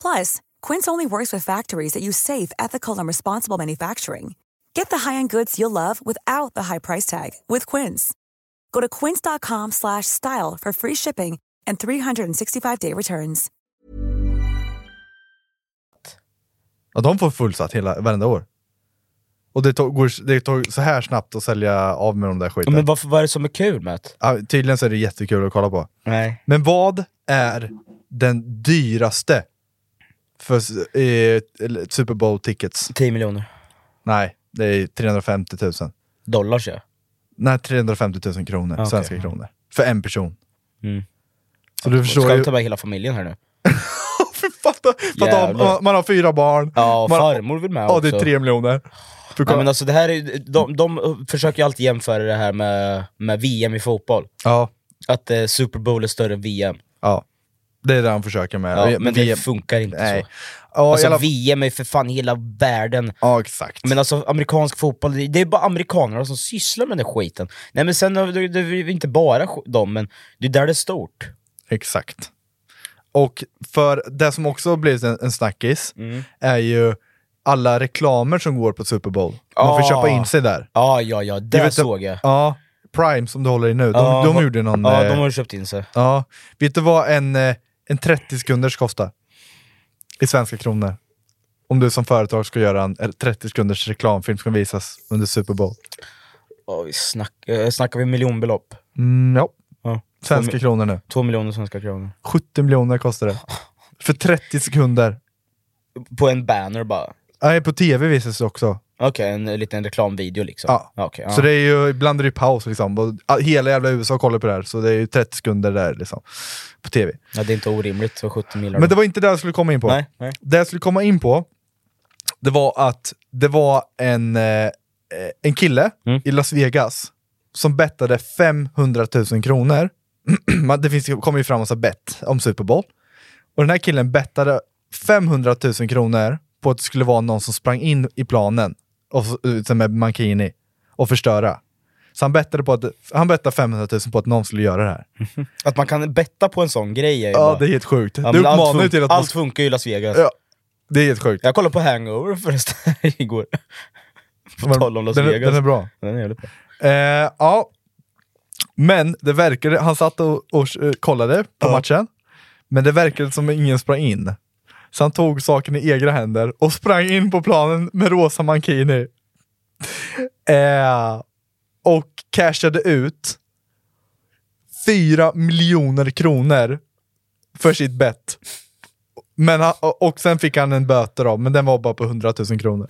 Speaker 5: Plus, Quince only works with factories that use safe, ethical, and responsible manufacturing. Get the high-end goods you'll love without the high price tag with Quince. Go to quince.com slash style for free shipping and 365-day returns.
Speaker 3: Ja, de får fullsatt hela, varenda år. Och det tog, går, det tog så här snabbt att sälja av med de där
Speaker 2: Ja,
Speaker 3: skiten.
Speaker 2: men varför, vad är det som är kul med det?
Speaker 3: Ja, tydligen så är det jättekul att kolla på.
Speaker 2: Nej.
Speaker 3: Men vad är den dyraste för s- eh, eller Super Bowl tickets?
Speaker 2: 10 miljoner
Speaker 3: Nej, det är 350 000.
Speaker 2: dollar ja.
Speaker 3: Nej, 350 000 kronor.
Speaker 2: Ah, Okej.
Speaker 3: Svenska kronor. För en person.
Speaker 2: Mm.
Speaker 3: Så du förstår
Speaker 2: Ska
Speaker 3: ju...
Speaker 2: vi ta med hela familjen här nu?
Speaker 3: Fy fatta, fatta om,
Speaker 2: Jävlar.
Speaker 3: om man har fyra barn.
Speaker 2: Ja,
Speaker 3: man,
Speaker 2: farmor vill med
Speaker 3: Ja,
Speaker 2: också.
Speaker 3: det är tre miljoner. För
Speaker 2: Ja,
Speaker 3: kolla-
Speaker 2: men alltså det här är, ju- de, de försöker ju alltid jämföra det här med, med VM i fotboll.
Speaker 3: ja,
Speaker 2: Att eh, Super Bowl är större än VM.
Speaker 3: ja. Det är det han försöker med.
Speaker 2: Ja,
Speaker 3: Vi-
Speaker 2: men
Speaker 3: vi-
Speaker 2: det funkar inte
Speaker 3: Nej.
Speaker 2: så.
Speaker 3: Ja,
Speaker 2: Alltså,
Speaker 3: i alla...
Speaker 2: VM är ju för fan hela världen.
Speaker 3: ja exakt.
Speaker 2: Men alltså amerikansk fotboll, det- det är bara amerikanerna som sysslar med den skiten. Nej men sen, har vi- det är inte bara sk- dem, men det är där det är stort.
Speaker 3: Exakt. Och för det som också har blivit en, en snackis
Speaker 2: Mm.
Speaker 3: är ju alla reklamer som går på Super Bowl. Man får
Speaker 2: Ah.
Speaker 3: köpa in sig där.
Speaker 2: Ja, ja, ja,
Speaker 3: Du
Speaker 2: det
Speaker 3: vet,
Speaker 2: såg jag.
Speaker 3: Ja, Prime som du håller i nu, de,
Speaker 2: Ja,
Speaker 3: de
Speaker 2: va-
Speaker 3: gjorde någon...
Speaker 2: Ja,
Speaker 3: eh,
Speaker 2: de har ju köpt in sig.
Speaker 3: ja. Vet du vad en, eh, en 30 sekunders kostar? I svenska kronor. Om du som företag ska göra en eh, 30 sekunders reklamfilm som visas under Super Bowl.
Speaker 2: Ja, vi snack, eh, snackar vi miljonbelopp?
Speaker 3: Mm, ja,
Speaker 2: Ja. Två
Speaker 3: svenska
Speaker 2: mi-
Speaker 3: kronor nu.
Speaker 2: Två miljoner svenska kronor.
Speaker 3: 70 miljoner kostar det. För 30 sekunder.
Speaker 2: På en banner bara.
Speaker 3: Nej, på tv visas det också.
Speaker 2: Okej, en eh, liten reklamvideo liksom.
Speaker 3: Ja.
Speaker 2: Okej, ja.
Speaker 3: Så det är ju, ibland är det ju paus liksom. Och all- hela jävla USA kollar på det här, så det är ju 30 sekunder där liksom. På tv.
Speaker 2: ja, det är inte orimligt, så 70 miljoner.
Speaker 3: Men det var inte det jag skulle komma in på.
Speaker 2: Nej, nej.
Speaker 3: Det jag skulle komma in på, det var att det var en, eh, en kille
Speaker 2: Mm.
Speaker 3: i Las Vegas som bettade 500 000 kronor. Man- det finns, kommer ju fram massa bett om Super Bowl. Och den här killen bettade 500 000 kronor på att det skulle vara någon som sprang in i planen och, så- eh, som med Mankini och förstöra. Så han bettade, på att, han bettade 500 000 på att någon skulle göra det här.
Speaker 2: Att man kan betta på en sån grej är ju
Speaker 3: Ja,
Speaker 2: bara...
Speaker 3: det är helt sjukt.
Speaker 2: Ja,
Speaker 3: det
Speaker 2: men allt
Speaker 3: uppmanar ju
Speaker 2: fun-
Speaker 3: till att... man
Speaker 2: Allt
Speaker 3: ska-
Speaker 2: funkar ju i Las Vegas.
Speaker 3: Ja, det är helt sjukt.
Speaker 2: Jag kollade på Hangover förresten igår. På tal om Las
Speaker 3: den, är-
Speaker 2: Vegas.
Speaker 3: den är bra.
Speaker 2: Den är jävligt bra.
Speaker 3: Eh, ja. Men det verkade, han satt och, och eh, kollade på matchen, men det verkade som ingen sprang in. Så han tog saken i egna händer och sprang in på planen med rosa mankini. Eh, och cashade ut 4 miljoner kronor för sitt bett. Men, han- och sen fick han en böter av, men den var bara på 100 000 kronor.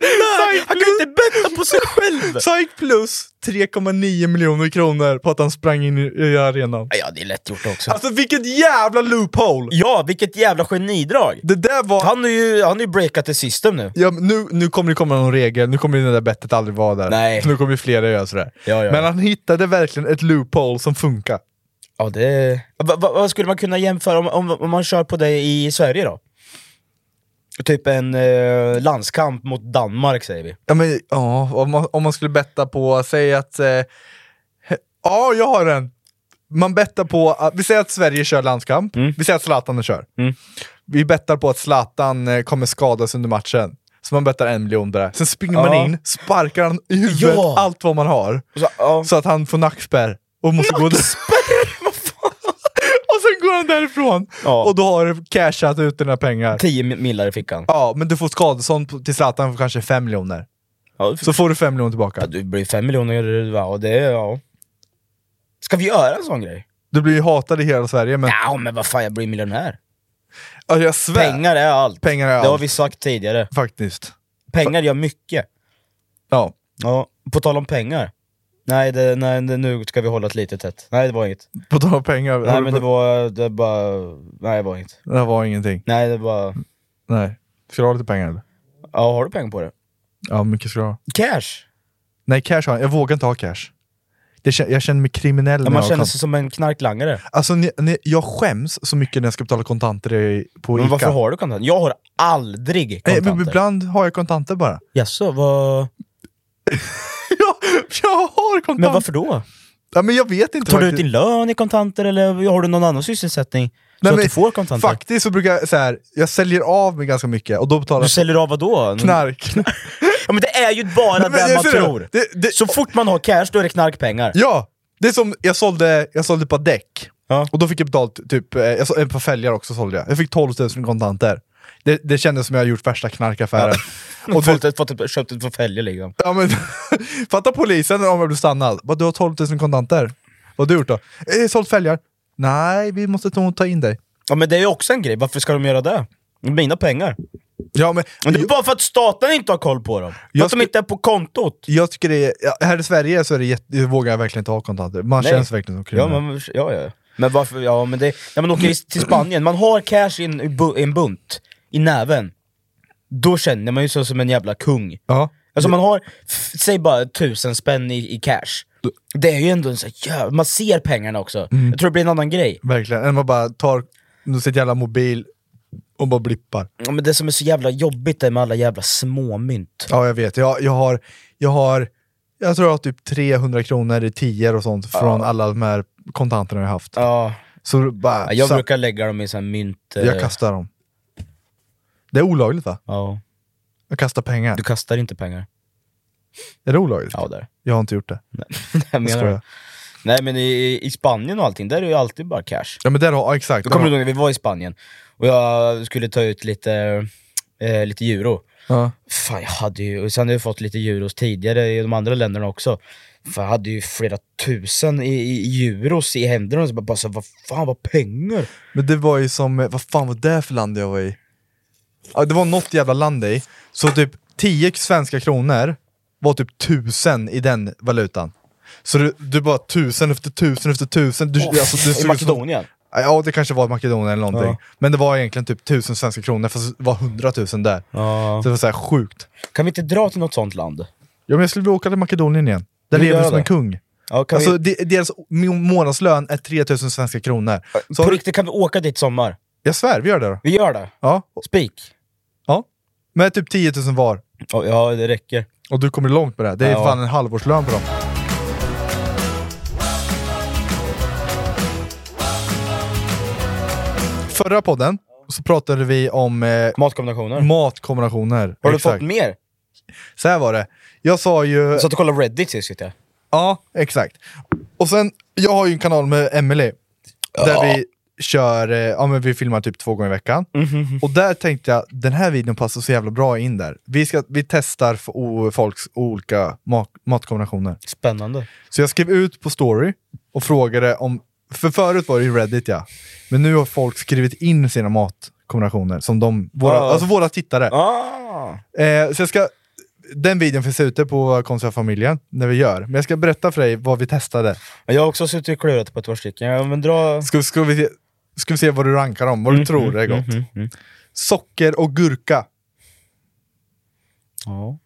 Speaker 2: Nej, han kan ju inte betta på sig själv!
Speaker 3: Så han gick plus 3,9 miljoner kronor på att han sprang in i, i arenan.
Speaker 2: Ja, det är lätt gjort också.
Speaker 3: Alltså vilket jävla loophole!
Speaker 2: ja, vilket jävla genidrag!
Speaker 3: Det där var...
Speaker 2: Han har ju, han har ju breakat the system nu.
Speaker 3: Ja, men nu, nu kommer det komma någon regel, nu kommer det där bettet aldrig vara där.
Speaker 2: Nej.
Speaker 3: Så nu kommer ju flera göra sådär.
Speaker 2: Ja, ja.
Speaker 3: Men han hittade verkligen ett loophole som funkar.
Speaker 2: Ja, det... Va, va, vad skulle man kunna jämföra om, om, om man kör på det i Sverige då? Typ en eh, landskamp mot Danmark säger vi.
Speaker 3: Ja, men, ja, om, man, om man skulle betta på, säg att... eh, he- Ja, jag har en! Man bettar på, att, vi säger att Sverige kör landskamp,
Speaker 2: Mm.
Speaker 3: vi säger att Zlatan kör. Vi bettar på att Zlatan eh, kommer skadas under matchen. Så man bettar en miljon där. Sen springer
Speaker 2: Ja.
Speaker 3: man in, sparkar han i huvudet
Speaker 2: Ja.
Speaker 3: allt vad man har.
Speaker 2: Och Så, ja.
Speaker 3: Så att han får nackspärr och måste gå Och sen går han därifrån
Speaker 2: Ja.
Speaker 3: och då har du cashat ut dina pengar.
Speaker 2: 10 mi- millar i fickan.
Speaker 3: Ja, men du får skadestånd på- till Zlatan för kanske 5 miljoner.
Speaker 2: Ja,
Speaker 3: Så får du 5 miljoner
Speaker 2: ja,
Speaker 3: tillbaka.
Speaker 2: det blir 5 miljoner, ja, och det, ja. Ska vi göra en sån grej?
Speaker 3: Du blir ju hatad i hela Sverige, men
Speaker 2: Ja, men vad fan, jag blir miljonär.
Speaker 3: ja. jag svär
Speaker 2: Pengar är allt.
Speaker 3: Pengar är
Speaker 2: Det har
Speaker 3: allt.
Speaker 2: vi sagt tidigare.
Speaker 3: faktiskt.
Speaker 2: Pengar gör mycket.
Speaker 3: Ja.
Speaker 2: Ja, på tal om pengar. Nej, det, nej det, nu ska vi hålla ett litet tätt. Nej, det var inget.
Speaker 3: På tal om pengar, har
Speaker 2: Nej,
Speaker 3: du
Speaker 2: men det
Speaker 3: be-
Speaker 2: var, det bara... Nej, det var inget.
Speaker 3: det här var ingenting.
Speaker 2: Nej, det var...
Speaker 3: Nej. Ska du ha lite pengar eller?
Speaker 2: Ja, har du pengar på det?
Speaker 3: Ja, mycket ska du ha.
Speaker 2: Cash!
Speaker 3: Nej, cash har jag. Jag vågar inte ha cash. Det, kä- jag känner mig kriminell
Speaker 2: Ja,
Speaker 3: när
Speaker 2: man
Speaker 3: jag
Speaker 2: känner
Speaker 3: känner
Speaker 2: sig som en knarklangare.
Speaker 3: Alltså, ni, ni, jag skäms så mycket när jag ska betala kontanter i, på Ica.
Speaker 2: Men varför har du kontanter? Jag har aldrig
Speaker 3: Nej, Eh, men
Speaker 2: kontanter.
Speaker 3: Ibland har jag kontanter bara.
Speaker 2: Jaså, vad...
Speaker 3: Ja, jag har kontanter!
Speaker 2: Men varför då?
Speaker 3: Ja, men jag vet inte
Speaker 2: Tar du ut
Speaker 3: faktiskt.
Speaker 2: din lön i kontanter eller har du någon annan sysselsättning? Så
Speaker 3: Nej,
Speaker 2: att
Speaker 3: men
Speaker 2: du får kontanter?
Speaker 3: Faktiskt så brukar jag så här, jag säljer av mig ganska mycket och då betalar
Speaker 2: Du
Speaker 3: jag
Speaker 2: säljer av vad då?
Speaker 3: knark.
Speaker 2: Ja, men det är ju bara
Speaker 3: Nej, men
Speaker 2: det
Speaker 3: jag
Speaker 2: man
Speaker 3: ser det.
Speaker 2: tror.
Speaker 3: Det- det-
Speaker 2: Så fort man har cash, då är det knarkpengar.
Speaker 3: ja, det är som, jag sålde, jag sålde ett par däck
Speaker 2: Ja.
Speaker 3: och då fick jag betalt, typ, eh, jag så, ett par fälgar också sålde jag. Jag fick 12 000 kontanter. Det, det kändes som jag gjort värsta knarkaffären.
Speaker 2: Och
Speaker 3: Och
Speaker 2: fått
Speaker 3: du,
Speaker 2: ett, fått ett, köpt ett förfölje liksom.
Speaker 3: ja, men, fatta polisen om jag blir stannad. Bara, du har 12 000 kontanter. Vad har du gjort då? Eh, sålt fälgar. Nej, vi måste nog ta in dig.
Speaker 2: Ja men det är ju också en grej, varför ska de göra det? Mina pengar.
Speaker 3: Ja, men,
Speaker 2: Men det är bara för att staten inte har koll på dem. För
Speaker 3: Jag
Speaker 2: att de
Speaker 3: sku-
Speaker 2: inte är på kontot.
Speaker 3: jag tycker det är, ja, här i Sverige så är det jätte, vågar jag verkligen inte ha kontanter. Man
Speaker 2: Nej.
Speaker 3: känns verkligen som
Speaker 2: Ja
Speaker 3: kriminell.
Speaker 2: men, ja, ja. men varför, ja men det, när man åker i- till Spanien, man har cash i en, i bu- i en bunt, i näven. Då känner man ju sig som en jävla kung.
Speaker 3: Ja.
Speaker 2: Alltså man har, f- säg bara tusen spänn i, i cash. Det är ju ändå en sån här jävla, man ser pengarna också.
Speaker 3: Mm.
Speaker 2: Jag tror det blir en annan grej.
Speaker 3: Verkligen, än man bara tar sitt jävla mobil och bara blippar.
Speaker 2: Ja, men det som är så jävla jobbigt är med alla jävla småmynt.
Speaker 3: Ja, jag vet. Jag, jag har, jag har, jag tror jag har typ 300 kronor i tior och sånt från alla de här kontanterna jag haft.
Speaker 2: Ja,
Speaker 3: Så bara,
Speaker 2: jag
Speaker 3: så,
Speaker 2: brukar lägga dem i sån här mynt... eh,
Speaker 3: jag kastar dem. Det är olagligt va?
Speaker 2: Ja.
Speaker 3: Att kasta pengar.
Speaker 2: Du kastar inte pengar?
Speaker 3: Är det olagligt?
Speaker 2: Ja, där.
Speaker 3: Jag har inte gjort det.
Speaker 2: Jag
Speaker 3: Jag
Speaker 2: menar
Speaker 3: skojar.
Speaker 2: det. Nej men i, i Spanien och allting, där är det ju alltid bara cash.
Speaker 3: Ja men där har, ja, exakt.
Speaker 2: Då kommer
Speaker 3: Där
Speaker 2: du ihåg när vi var i Spanien och jag skulle ta ut lite, eh, lite euro.
Speaker 3: har- ja.
Speaker 2: Fan, jag hade ju, och sen har jag fått lite euros tidigare i de andra länderna också. Fan, jag hade ju flera tusen i, i euros i händerna, så bara, bara så, vad fan vad pengar?
Speaker 3: Men det var ju som, eh, vad fan var det för land jag var i? Ja, det var något jävla land i, så typ 10 svenska kronor var typ tusen i den valutan. Så du, du bara tusen efter tusen efter tusen. Du, alltså, du
Speaker 2: I
Speaker 3: såg ut som-
Speaker 2: Makedonien.
Speaker 3: Ja, det kanske var Makedonien eller någonting. Men det var egentligen typ tusen svenska kronor, fast det var hundratusen där. Så det var så här sjukt.
Speaker 2: Kan vi inte dra till något sånt land?
Speaker 3: Ja, men jag skulle vilja åka till Makedonien igen. Där
Speaker 2: Vi
Speaker 3: lever
Speaker 2: gör
Speaker 3: du som
Speaker 2: det.
Speaker 3: en kung.
Speaker 2: Ja, kan
Speaker 3: Alltså,
Speaker 2: vi,
Speaker 3: de, deras må- månadslön är 3000 svenska kronor. Så
Speaker 2: på
Speaker 3: har du,
Speaker 2: riktigt, kan vi åka dit i sommar?
Speaker 3: jag svär, vi gör det då.
Speaker 2: Vi gör det.
Speaker 3: Ja,
Speaker 2: Spik.
Speaker 3: Ja. Med typ 10 000 var.
Speaker 2: Ja, Ja, det räcker.
Speaker 3: Och du kommer långt med det. här. Det är
Speaker 2: Ja.
Speaker 3: fan en halvårslön på dem. Förra podden så pratade vi om eh,
Speaker 2: Matkombinationer.
Speaker 3: matkombinationer.
Speaker 2: Har du
Speaker 3: Exakt.
Speaker 2: fått mer?
Speaker 3: Så här var det. Jag sa ju...
Speaker 2: Jag satt och kollade Reddit sist vet jag.
Speaker 3: Ja, exakt. Och sen, jag har ju en kanal med Emily Där vi kör, eh, ja men vi filmar typ två gånger i veckan.
Speaker 2: Mhm,
Speaker 3: Och där tänkte jag, den här videon passar så jävla bra in där. Vi, ska, vi testar f- o- folks olika mat, matkombinationer.
Speaker 2: Spännande.
Speaker 3: Så jag skrev ut på story och frågade om... För förut var det ju Reddit ja, men nu har folk skrivit in sina matkombinationer, som de, våra,
Speaker 2: Ah.
Speaker 3: alltså våra tittare.
Speaker 2: Ah.
Speaker 3: Eh, så jag ska, den videon finns ute på konstiga familjen, när vi gör. Men jag ska berätta för dig vad vi testade.
Speaker 2: Jag har också suttit och klurat på ett par stycken. Ja, men dra...
Speaker 3: Ska, ska, vi, se- ska vi se vad du rankar dem, vad du tror är gott. Socker och gurka.
Speaker 2: Ja.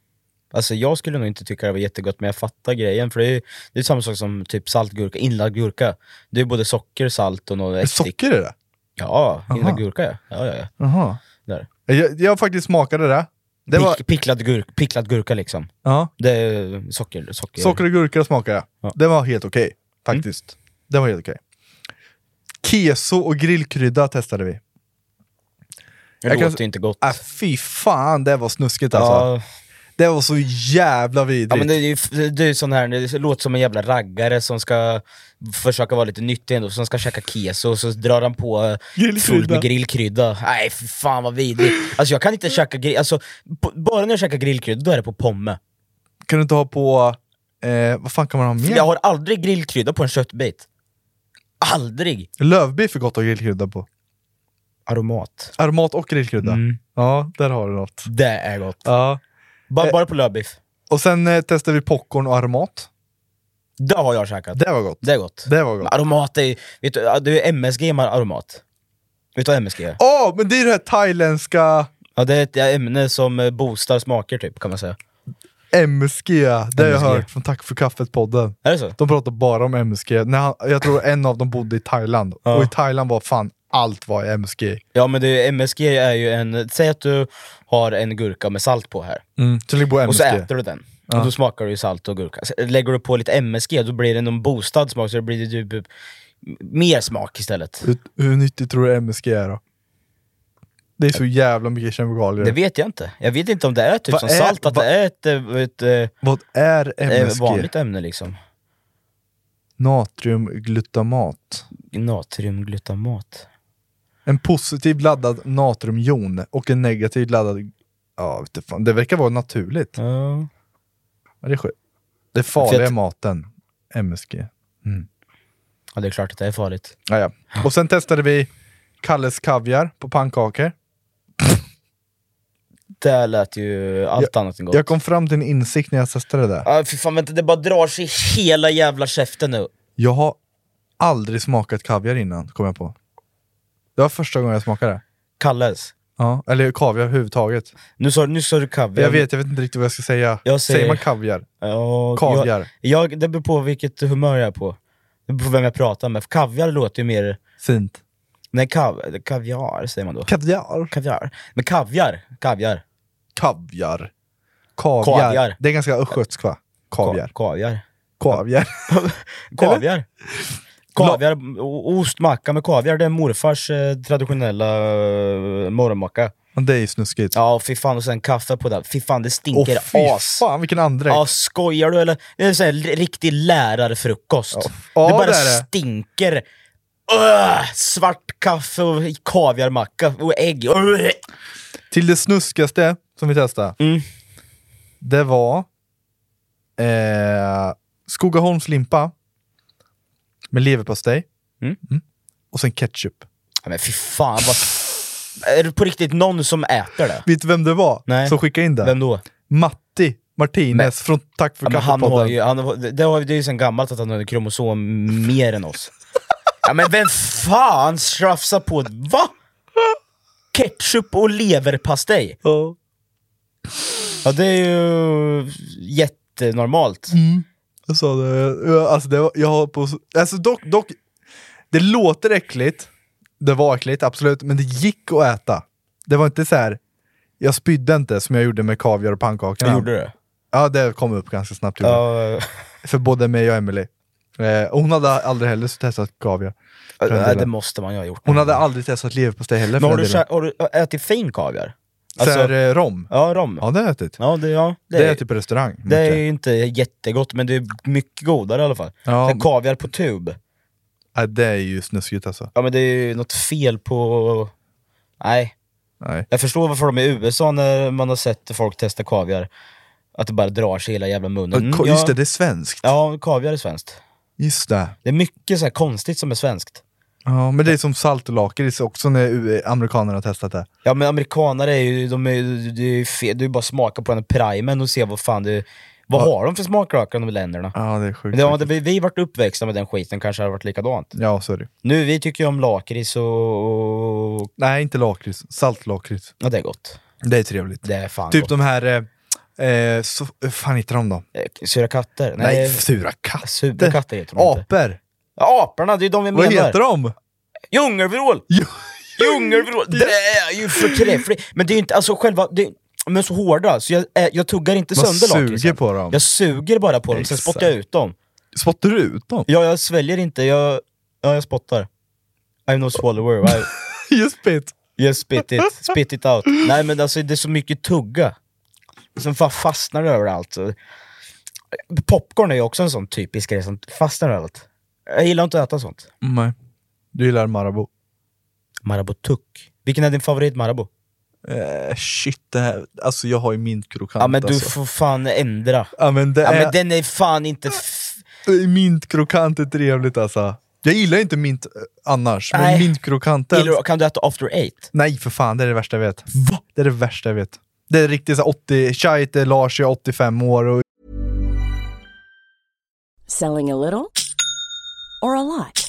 Speaker 2: Alltså jag skulle nog inte tycka det var jättegott, men jag fattar grejen. För det är, det är samma sak som typ saltgurka, inlagd gurka. Det är både socker, salt och något ättik.
Speaker 3: Socker är det?
Speaker 2: Ja,
Speaker 3: Aha.
Speaker 2: inlagd gurka ja. ja, ja, ja.
Speaker 3: Jaha.
Speaker 2: Där.
Speaker 3: Eh, Jag, jag faktiskt smakade det. det
Speaker 2: Pick,
Speaker 3: var,
Speaker 2: picklad, gurk, picklad gurka liksom.
Speaker 3: ja.
Speaker 2: Det är socker. socker.
Speaker 3: Socker och gurka smakade jag.
Speaker 2: Ja.
Speaker 3: Det var helt okej, faktiskt. Det var helt okej. Keso och grillkrydda testade vi.
Speaker 2: det
Speaker 3: jag
Speaker 2: låter
Speaker 3: kan-
Speaker 2: ju inte gott.
Speaker 3: Äh, fy fan, det var snuskigt alltså.
Speaker 2: ja,
Speaker 3: Det var så jävla vidrigt.
Speaker 2: ja, men det är ju f- det är ju sån här, det låter som en jävla raggare som ska försöka vara lite nyttig ändå, som ska käka keso och så drar han på eh,
Speaker 3: Grillkrydda.
Speaker 2: fullt med grillkrydda. Nej fy fan vad vidrigt. Alltså jag kan inte käka grill, alltså, b- bara när jag käkar grillkrydda då är det på pomme.
Speaker 3: Kan du inte ha på... Eh, vad fan kan man ha
Speaker 2: För
Speaker 3: mer?
Speaker 2: Jag har aldrig grillkrydda på en köttbit. Aldrig!
Speaker 3: Lövbiff är gott att ha grillkrydda på.
Speaker 2: Aromat.
Speaker 3: Aromat och grillkrydda.
Speaker 2: Mm.
Speaker 3: Ja, där har du något.
Speaker 2: Det är gott.
Speaker 3: Ja.
Speaker 2: Ba-
Speaker 3: Eh.
Speaker 2: bara på lövbiff.
Speaker 3: Och sen eh, testade vi popcorn och aromat.
Speaker 2: Det har jag käkat.
Speaker 3: Det var gott.
Speaker 2: Det är gott.
Speaker 3: Det var gott.
Speaker 2: Men Aromat är ju- vet du, det är MSG med aromat. Vet du vad MSG är?
Speaker 3: Åh, men det är det här thailändska
Speaker 2: Ja, det är ett ämne som eh, boostar smaker typ, kan man säga.
Speaker 3: MSG. Det har jag
Speaker 2: MSG.
Speaker 3: hört från Tack för kaffet-podden.
Speaker 2: Är det så?
Speaker 3: De pratar bara om MSG. När han, jag tror en av dem bodde i Thailand. Och i Thailand var fan allt var i MSG.
Speaker 2: Ja men det, MSG är ju en, säg att du har en gurka med salt på här,
Speaker 3: Så ligger på
Speaker 2: Mm. och så
Speaker 3: MSG.
Speaker 2: äter du den. Och då smakar du ju salt och gurka. Så Lägger du på lite MSG, då blir det någon boostad smak, så det blir ju typ mer smak istället.
Speaker 3: Hur, hur nyttigt tror du MSG är då? Det är så jävla mycket kemikalier.
Speaker 2: Det vet jag inte. Jag vet inte om det är typ
Speaker 3: Vad
Speaker 2: som
Speaker 3: är-
Speaker 2: salt, att
Speaker 3: vad-
Speaker 2: det är ett, eh, ett, eh,
Speaker 3: Vad är
Speaker 2: eh,
Speaker 3: MSG?
Speaker 2: vanligt ämne liksom.
Speaker 3: Natriumglutamat.
Speaker 2: Natriumglutamat.
Speaker 3: En positiv laddad natriumjon och en negativ laddad... Ja, vet du fan. Det verkar vara naturligt.
Speaker 2: Ja.
Speaker 3: Ja, det är skönt. Det farliga
Speaker 2: För att-
Speaker 3: maten. MSG.
Speaker 2: ja, det är klart att det är farligt.
Speaker 3: Ja, ja. Och sen testade vi Kalles kaviar på pannkakor.
Speaker 2: Det lät ju allt annat än gott.
Speaker 3: Jag kom fram till en insikt när jag testade det där.
Speaker 2: Ah, fy fan vänta, det bara drar sig i hela jävla käften nu.
Speaker 3: Jag har aldrig smakat kaviar innan, kom jag på. Det var första gången jag smakade det.
Speaker 2: Kalles.
Speaker 3: Ja, eller kaviar överhuvudtaget.
Speaker 2: Nu sa, nu sa du kaviar.
Speaker 3: Jag vet, jag vet inte riktigt vad jag ska säga.
Speaker 2: Jag säger-
Speaker 3: Säger man kaviar?
Speaker 2: Ja,
Speaker 3: Kaviar.
Speaker 2: Jag, jag, det beror på vilket humör jag är på. Det beror på vem jag pratar med. För kaviar låter ju mer...
Speaker 3: Fint.
Speaker 2: Nej, kav, kaviar säger man då.
Speaker 3: Kaviar.
Speaker 2: Kaviar. Men kaviar. Kaviar.
Speaker 3: Kaviar. Kaviar.
Speaker 2: Kaviar.
Speaker 3: Det är ganska östgötskt va?
Speaker 2: Ka-
Speaker 3: Kaviar.
Speaker 2: Kaviar.
Speaker 3: Kaviar.
Speaker 2: Kaviar. Kaviar. o- Ostmacka med kaviar. Det är morfars eh, traditionella eh, morgonmacka.
Speaker 3: Men det är ju snuskigt.
Speaker 2: Ja, fy fan. Och sen kaffe på det. Fy fan, det
Speaker 3: Åh
Speaker 2: stinker
Speaker 3: fy
Speaker 2: as.
Speaker 3: fan vilken andräkt.
Speaker 2: Ja, skojar du eller? Det är en sån här riktig lärarfrukost.
Speaker 3: Ja,
Speaker 2: det bara
Speaker 3: det är det.
Speaker 2: stinker. Öh, svart kaffe och kaviarmacka och ägg. Öh.
Speaker 3: Till det snuskigaste som vi testade.
Speaker 2: Mm.
Speaker 3: Det var eh, Skogaholmslimpa med leverpastej.
Speaker 2: Mm.
Speaker 3: Och sen ketchup.
Speaker 2: Ja, men fy fan vad... Är det på riktigt någon som äter det?
Speaker 3: Vet du vem det var
Speaker 2: Nej.
Speaker 3: som skickade in det?
Speaker 2: Vem då?
Speaker 3: Matti Martinez
Speaker 2: Men-
Speaker 3: från Tack för
Speaker 2: Ja, men han
Speaker 3: kaffepodden.
Speaker 2: har ju, han har, det, har, det är ju sen gammalt att han har en kromosom mer än oss. Ja men vem fan slafsar på... Va? Ketchup och leverpastej?
Speaker 3: Ja.
Speaker 2: Ja det är ju jättenormalt.
Speaker 3: Mm. Jag sa det, ja, alltså det var, jag har på, alltså dock, dock, det låter äckligt, det var äckligt absolut, men det gick att äta. Det var inte så här. jag spydde inte som jag gjorde med kaviar och pannkakorna.
Speaker 2: Du gjorde det?
Speaker 3: Ja, det kom upp ganska snabbt. gjorde det.
Speaker 2: Ja,
Speaker 3: För både mig och Emily. Eh, hon hade aldrig heller testat kaviar. för den
Speaker 2: nej, det
Speaker 3: delen.
Speaker 2: måste man ju ha gjort.
Speaker 3: Hon hade aldrig testat leverpastej heller.
Speaker 2: Men
Speaker 3: för
Speaker 2: har
Speaker 3: den
Speaker 2: du,
Speaker 3: delen.
Speaker 2: kä- har du ätit fin kaviar?
Speaker 3: så
Speaker 2: Alltså,
Speaker 3: här, eh, rom.
Speaker 2: ja, rom.
Speaker 3: Ja, det har jag ätit.
Speaker 2: Ja, det, ja,
Speaker 3: Det
Speaker 2: det,
Speaker 3: har
Speaker 2: är,
Speaker 3: jag ätit på restaurang.
Speaker 2: det är
Speaker 3: mycket.
Speaker 2: ju inte jättegott, men det är mycket godare i alla fall.
Speaker 3: Ja,
Speaker 2: Sen kaviar på tub.
Speaker 3: Nej, det är ju snuskigt alltså.
Speaker 2: Ja men det är ju något fel på... Nej.
Speaker 3: Nej.
Speaker 2: Jag förstår varför de är i USA när man har sett folk testa kaviar. Att det bara drar sig i hela jävla munnen. Mm,
Speaker 3: Ko- Just
Speaker 2: ja.
Speaker 3: det, det är svenskt.
Speaker 2: Ja, kaviar är svenskt.
Speaker 3: Just det.
Speaker 2: Det är mycket så här konstigt som är svenskt.
Speaker 3: Ja, men det är som salt och lakrits också när U- E, amerikanerna har testat det.
Speaker 2: Ja men amerikanare är ju, de är, ju- det är ju fel, det är ju bara att smaka på den primen och se vad fan det Vad har de för smaklökar de länderna?
Speaker 3: Ja, det är sjukt.
Speaker 2: Men det, hade vi, vi varit uppväxta med den skiten kanske det hade varit likadant.
Speaker 3: Ja, så är det.
Speaker 2: Nu, vi tycker ju om lakrits och... och
Speaker 3: Nej, inte lakrits. Saltlakrits.
Speaker 2: ja, det är gott.
Speaker 3: Det är trevligt.
Speaker 2: Det är fan
Speaker 3: typ
Speaker 2: gott.
Speaker 3: de här... Eh, eh, så, eh, fan heter de då?
Speaker 2: Eh, Sura katter?
Speaker 3: Nej,
Speaker 2: Nej,
Speaker 3: sura katter.
Speaker 2: sura katter heter de inte.
Speaker 3: Apor!
Speaker 2: Ja, Aporna, det är ju de vi menar.
Speaker 3: Vad heter de?
Speaker 2: Djungelvrål! Djungelvrål! Det är ju förträffligt! Men det är ju inte, alltså själva, det, men så hårda, så jag, eh, jag tuggar inte
Speaker 3: Man
Speaker 2: sönder lakritsen.
Speaker 3: suger på dem.
Speaker 2: Jag suger bara på dem, sen
Speaker 3: Exakt.
Speaker 2: spottar jag ut dem.
Speaker 3: Spottar du ut dem?
Speaker 2: Ja, jag sväljer inte, jag, ja, jag spottar. I'm no swallower, I
Speaker 3: Just it!
Speaker 2: just spit it, spit it out. Nej men alltså det är så mycket tugga. Som fan fastnar överallt. Så- Popcorn är ju också en sån typisk grej som fastnar överallt. Jag gillar inte att äta sånt.
Speaker 3: Nej. Du gillar Marabou?
Speaker 2: Marabou tuck. Vilken är din favorit Marabou?
Speaker 3: Eh, shit, det här, alltså jag har ju mintkrokant
Speaker 2: Ja men du
Speaker 3: alltså.
Speaker 2: får fan ändra.
Speaker 3: Ja men det
Speaker 2: Ja
Speaker 3: är,
Speaker 2: men den är fan inte... F-
Speaker 3: mintkrokant är trevligt alltså. Jag gillar inte mint eh, annars, men
Speaker 2: Nej.
Speaker 3: mintkrokanten...
Speaker 2: Gillar du- kan du äta after eight?
Speaker 3: Nej för fan, det är det värsta jag vet. Va? Det är det värsta jag vet. Det är riktigt så här 80, tja jag heter Lars, jag är 85 år och
Speaker 1: Selling a little or a lot?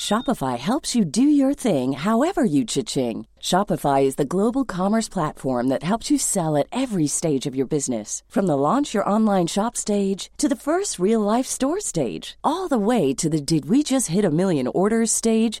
Speaker 1: Shopify helps you do your thing however you cha-ching. Shopify is the global commerce platform that helps you sell at every stage of your business. From the launch your online shop stage to the first real life store stage, all the way to the did we just hit a million orders stage.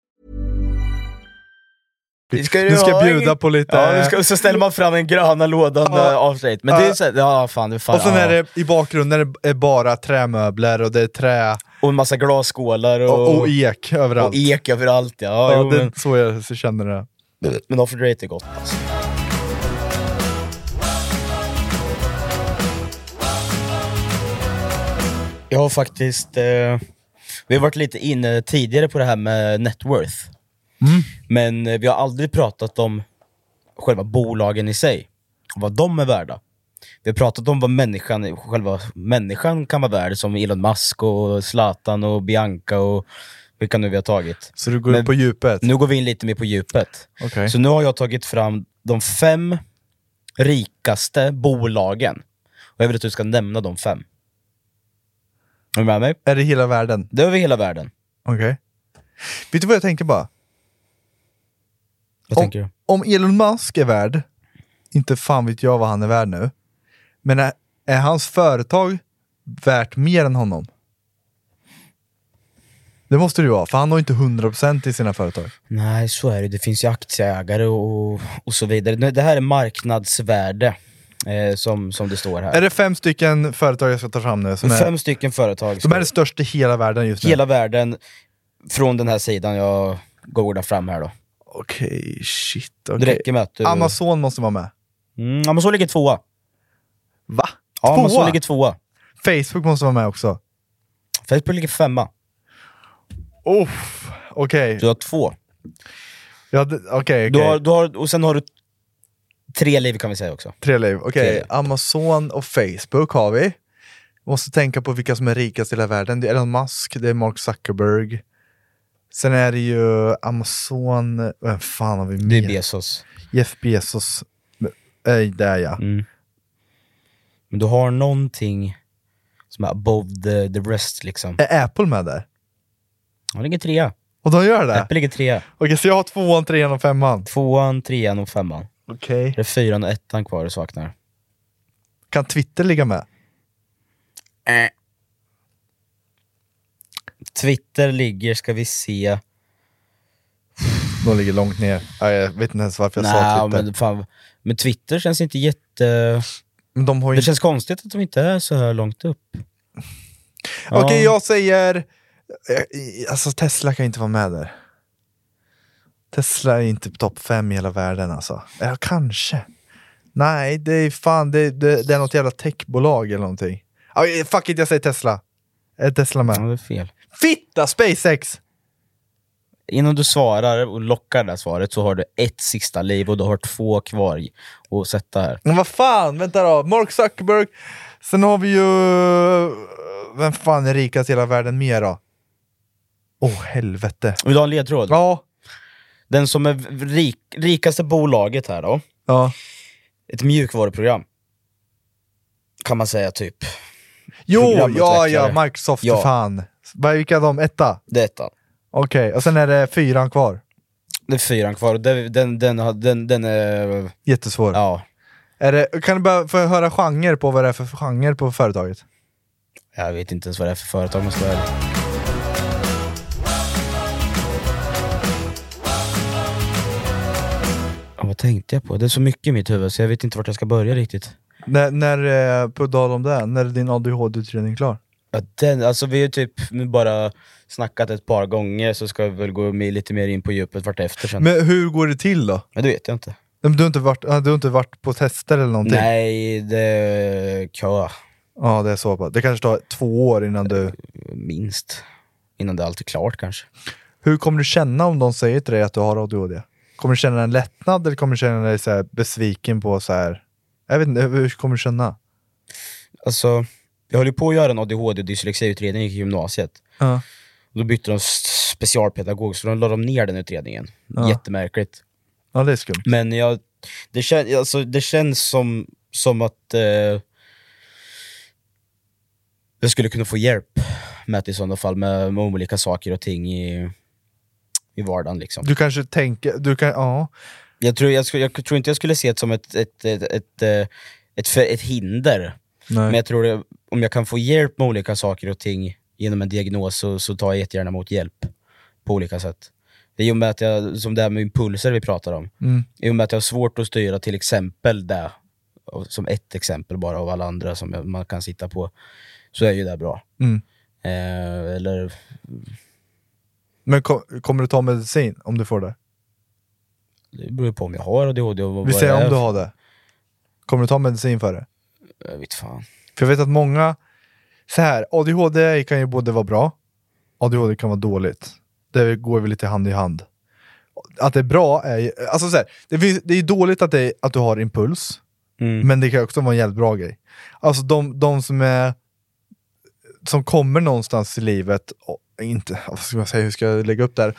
Speaker 2: Vi ska ju
Speaker 3: nu ska
Speaker 2: ha
Speaker 3: jag bjuda
Speaker 2: en-
Speaker 3: på lite...
Speaker 2: Ja, vi ska, så ställer man fram den gröna lådan
Speaker 3: Ja.
Speaker 2: ja. after eight. Men det är så här, ja fan, det är fan
Speaker 3: och sen
Speaker 2: ja.
Speaker 3: är det i bakgrunden är det är bara trämöbler och det är trä
Speaker 2: och en massa glasskålar och,
Speaker 3: och, och ek överallt.
Speaker 2: och ek överallt ja. ja,
Speaker 3: ja,
Speaker 2: jo,
Speaker 3: det,
Speaker 2: men,
Speaker 3: Så jag så känner det.
Speaker 2: men after eight är gott alltså. Jag har faktiskt, eh, vi har varit lite inne tidigare på det här med net worth. Men eh, vi har aldrig pratat om själva bolagen i sig, vad de är värda. Vi har pratat om vad människan, själva människan kan vara värd, som Elon Musk, och Zlatan och Bianca och vilka nu vi har tagit.
Speaker 3: Så du går
Speaker 2: Men
Speaker 3: upp på djupet?
Speaker 2: Nu går vi in lite mer på djupet.
Speaker 3: Okej.
Speaker 2: Så nu har jag tagit fram de fem rikaste bolagen. Och jag vill att du ska nämna de fem. Är du med mig?
Speaker 3: Är det hela världen?
Speaker 2: Det är över hela världen.
Speaker 3: Okej. Vet du vad jag tänker bara?
Speaker 2: Vad
Speaker 3: Om-
Speaker 2: tänker du?
Speaker 3: Om Elon Musk är värd, inte fan vet jag vad han är värd nu, men är, är hans företag värt mer än honom? Det måste det ju vara, för han har ju inte 100% i sina företag.
Speaker 2: Nej, så är det. Det finns ju aktieägare och, och så vidare. Nu, Det här är marknadsvärde, eh, som, som det står här.
Speaker 3: Är det fem stycken företag jag ska ta fram nu som
Speaker 2: Fem
Speaker 3: är,
Speaker 2: stycken företag.
Speaker 3: som är det största i hela världen just nu?
Speaker 2: hela världen från den här sidan jag googlar fram här då.
Speaker 3: Okej, shit.
Speaker 2: Det
Speaker 3: okej.
Speaker 2: räcker med att du...
Speaker 3: Amazon måste vara med.
Speaker 2: Mm, Amazon ligger tvåa.
Speaker 3: Va?
Speaker 2: Ja,
Speaker 3: Tvåa?
Speaker 2: Amazon ligger tvåa.
Speaker 3: Facebook måste vara med också.
Speaker 2: Facebook ligger femma.
Speaker 3: Oh, okej.
Speaker 2: Du har två.
Speaker 3: Ja, d- Okej,
Speaker 2: Du har,
Speaker 3: okej.
Speaker 2: du har, och sen har du tre liv kan vi säga också.
Speaker 3: Tre liv. Okej,
Speaker 2: Tre liv.
Speaker 3: Amazon och Facebook har vi. Måste tänka på vilka som är rikast i hela världen. Det är Elon Musk, det är Mark Zuckerberg. Sen är det ju Amazon, vem fan har vi
Speaker 2: Det är
Speaker 3: mer?
Speaker 2: Bezos.
Speaker 3: Jeff Bezos. Men Eh, det är jag.
Speaker 2: Mm. Men du har någonting som är above the, the rest liksom.
Speaker 3: Är Apple med där?
Speaker 2: Han ligger trea.
Speaker 3: Och de gör det?
Speaker 2: Apple ligger trea.
Speaker 3: Okej, så jag har tvåan, trean och femman.
Speaker 2: Tvåan, trean och femman.
Speaker 3: Okej.
Speaker 2: Det är fyran och ettan kvar du saknar.
Speaker 3: Kan Twitter ligga med?
Speaker 2: Twitter ligger, ska vi se.
Speaker 3: De ligger långt ner. Ja, Jag vet inte ens varför jag sa
Speaker 2: Nej,
Speaker 3: Twitter.
Speaker 2: men, fan. men Twitter känns inte jätte...
Speaker 3: Men de har ju
Speaker 2: Det känns konstigt att de inte är så här långt upp.
Speaker 3: Okej,
Speaker 2: Ja.
Speaker 3: jag säger... eh, Alltså Tesla kan inte vara med där. Tesla är inte på topp fem i hela världen alltså. Ja, kanske. Nej, det är fan, det, det, det är något jävla techbolag eller någonting. Ah, eh, fuck it, jag säger Tesla. Är Tesla
Speaker 2: Ja,
Speaker 3: med?
Speaker 2: det är fel.
Speaker 3: Fitta, SpaceX!
Speaker 2: Innan du svarar och lockar det här svaret så har du ett sista liv och du har två kvar i- att sätta här.
Speaker 3: Men vad fan, vänta då. Mark Zuckerberg. Sen har vi ju... eh, Vem fan är rikast i hela världen mer då? Åh, oh, helvete.
Speaker 2: Vill du ha en ledtråd?
Speaker 3: Ja.
Speaker 2: Den som är v- rik, rikaste bolaget här då,
Speaker 3: Ja.
Speaker 2: ett mjukvaruprogram. Kan man säga typ.
Speaker 3: Jo, ja,
Speaker 2: Programutvecklare.
Speaker 3: ja, Microsoft
Speaker 2: Ja.
Speaker 3: för fan. Vad- Vilka är de? Etta?
Speaker 2: Det är ettan.
Speaker 3: Okej, och sen är det fyran kvar.
Speaker 2: Det är fyran kvar och det- den, den, har- den, den är...
Speaker 3: Jättesvår.
Speaker 2: Ja,
Speaker 3: Är det, kan du bara få höra genre på vad det är för genre på företaget?
Speaker 2: jag vet inte ens vad det är för företag om jag ska vara ärlig. Ja, vad tänkte jag på? Det är så mycket i mitt huvud så jag vet inte vart jag ska börja riktigt.
Speaker 3: När, när eh, på tal om det, när är din ADHD-utredning klar?
Speaker 2: Ja, den, alltså vi har ju typ nu bara snackat ett par gånger så ska vi väl gå med lite mer in på djupet vartefter sen. Men,
Speaker 3: Men hur går det till då?
Speaker 2: det vet jag inte.
Speaker 3: Men Du har inte varit, ah, du har inte varit på tester eller någonting?
Speaker 2: Nej, det är kö
Speaker 3: Ja, det är så. pass. Det kanske tar två år innan du...
Speaker 2: minst. Innan det allt är klart kanske.
Speaker 3: Hur kommer du känna om de säger till dig att du har ADHD? Kommer du känna en lättnad eller kommer du känna dig så här besviken på så här... Jag vet inte, hur kommer du känna?
Speaker 2: Alltså, jag höll ju på att göra en ADHD och dyslexiutredning i gymnasiet.
Speaker 3: Ja.
Speaker 2: Och Då bytte de s- specialpedagog, så de la de ner den utredningen.
Speaker 3: Ja.
Speaker 2: Jättemärkligt.
Speaker 3: Ja, det är skumt.
Speaker 2: Men jag, det, kän, alltså, det känns som, som att eh, jag skulle kunna få hjälp med det i sådana fall, med, med olika saker och ting i, i vardagen. Liksom.
Speaker 3: Du kanske tänker... Du kan, ja.
Speaker 2: Jag, tror, jag, skulle- jag tror inte jag skulle se det som ett, ett, ett, ett, eh, ett, för- ett hinder,
Speaker 3: Nej.
Speaker 2: men jag tror det, om jag kan få hjälp med olika saker och ting genom en diagnos så, så tar jag jättegärna emot hjälp på olika sätt. Det är ju med att jag, som det här med impulser vi pratar om,
Speaker 3: Mm.
Speaker 2: i och med att jag har svårt att styra till exempel det, och som ett exempel bara av alla andra som jag, man kan sitta på, så är ju det bra.
Speaker 3: Mm.
Speaker 2: Eh, eller,
Speaker 3: Men kom, kommer du ta medicin om du får det?
Speaker 2: det beror ju på om jag har ADHD och vad
Speaker 3: Vi
Speaker 2: vad
Speaker 3: säger
Speaker 2: det är
Speaker 3: om du
Speaker 2: för-
Speaker 3: har det. Kommer du ta medicin för det?
Speaker 2: Jag vet fan.
Speaker 3: För jag vet att många... Så här, ADHD kan ju både vara bra, ADHD kan vara dåligt. Det går väl lite hand i hand. Att det är bra är ju... Alltså så här, det, finns, det är ju dåligt att, det, att du har impuls,
Speaker 2: Mm.
Speaker 3: men det kan också vara en jävligt bra grej. Alltså de, de som är... Som kommer någonstans i livet, och inte... Vad ska man säga, hur ska jag lägga upp det här?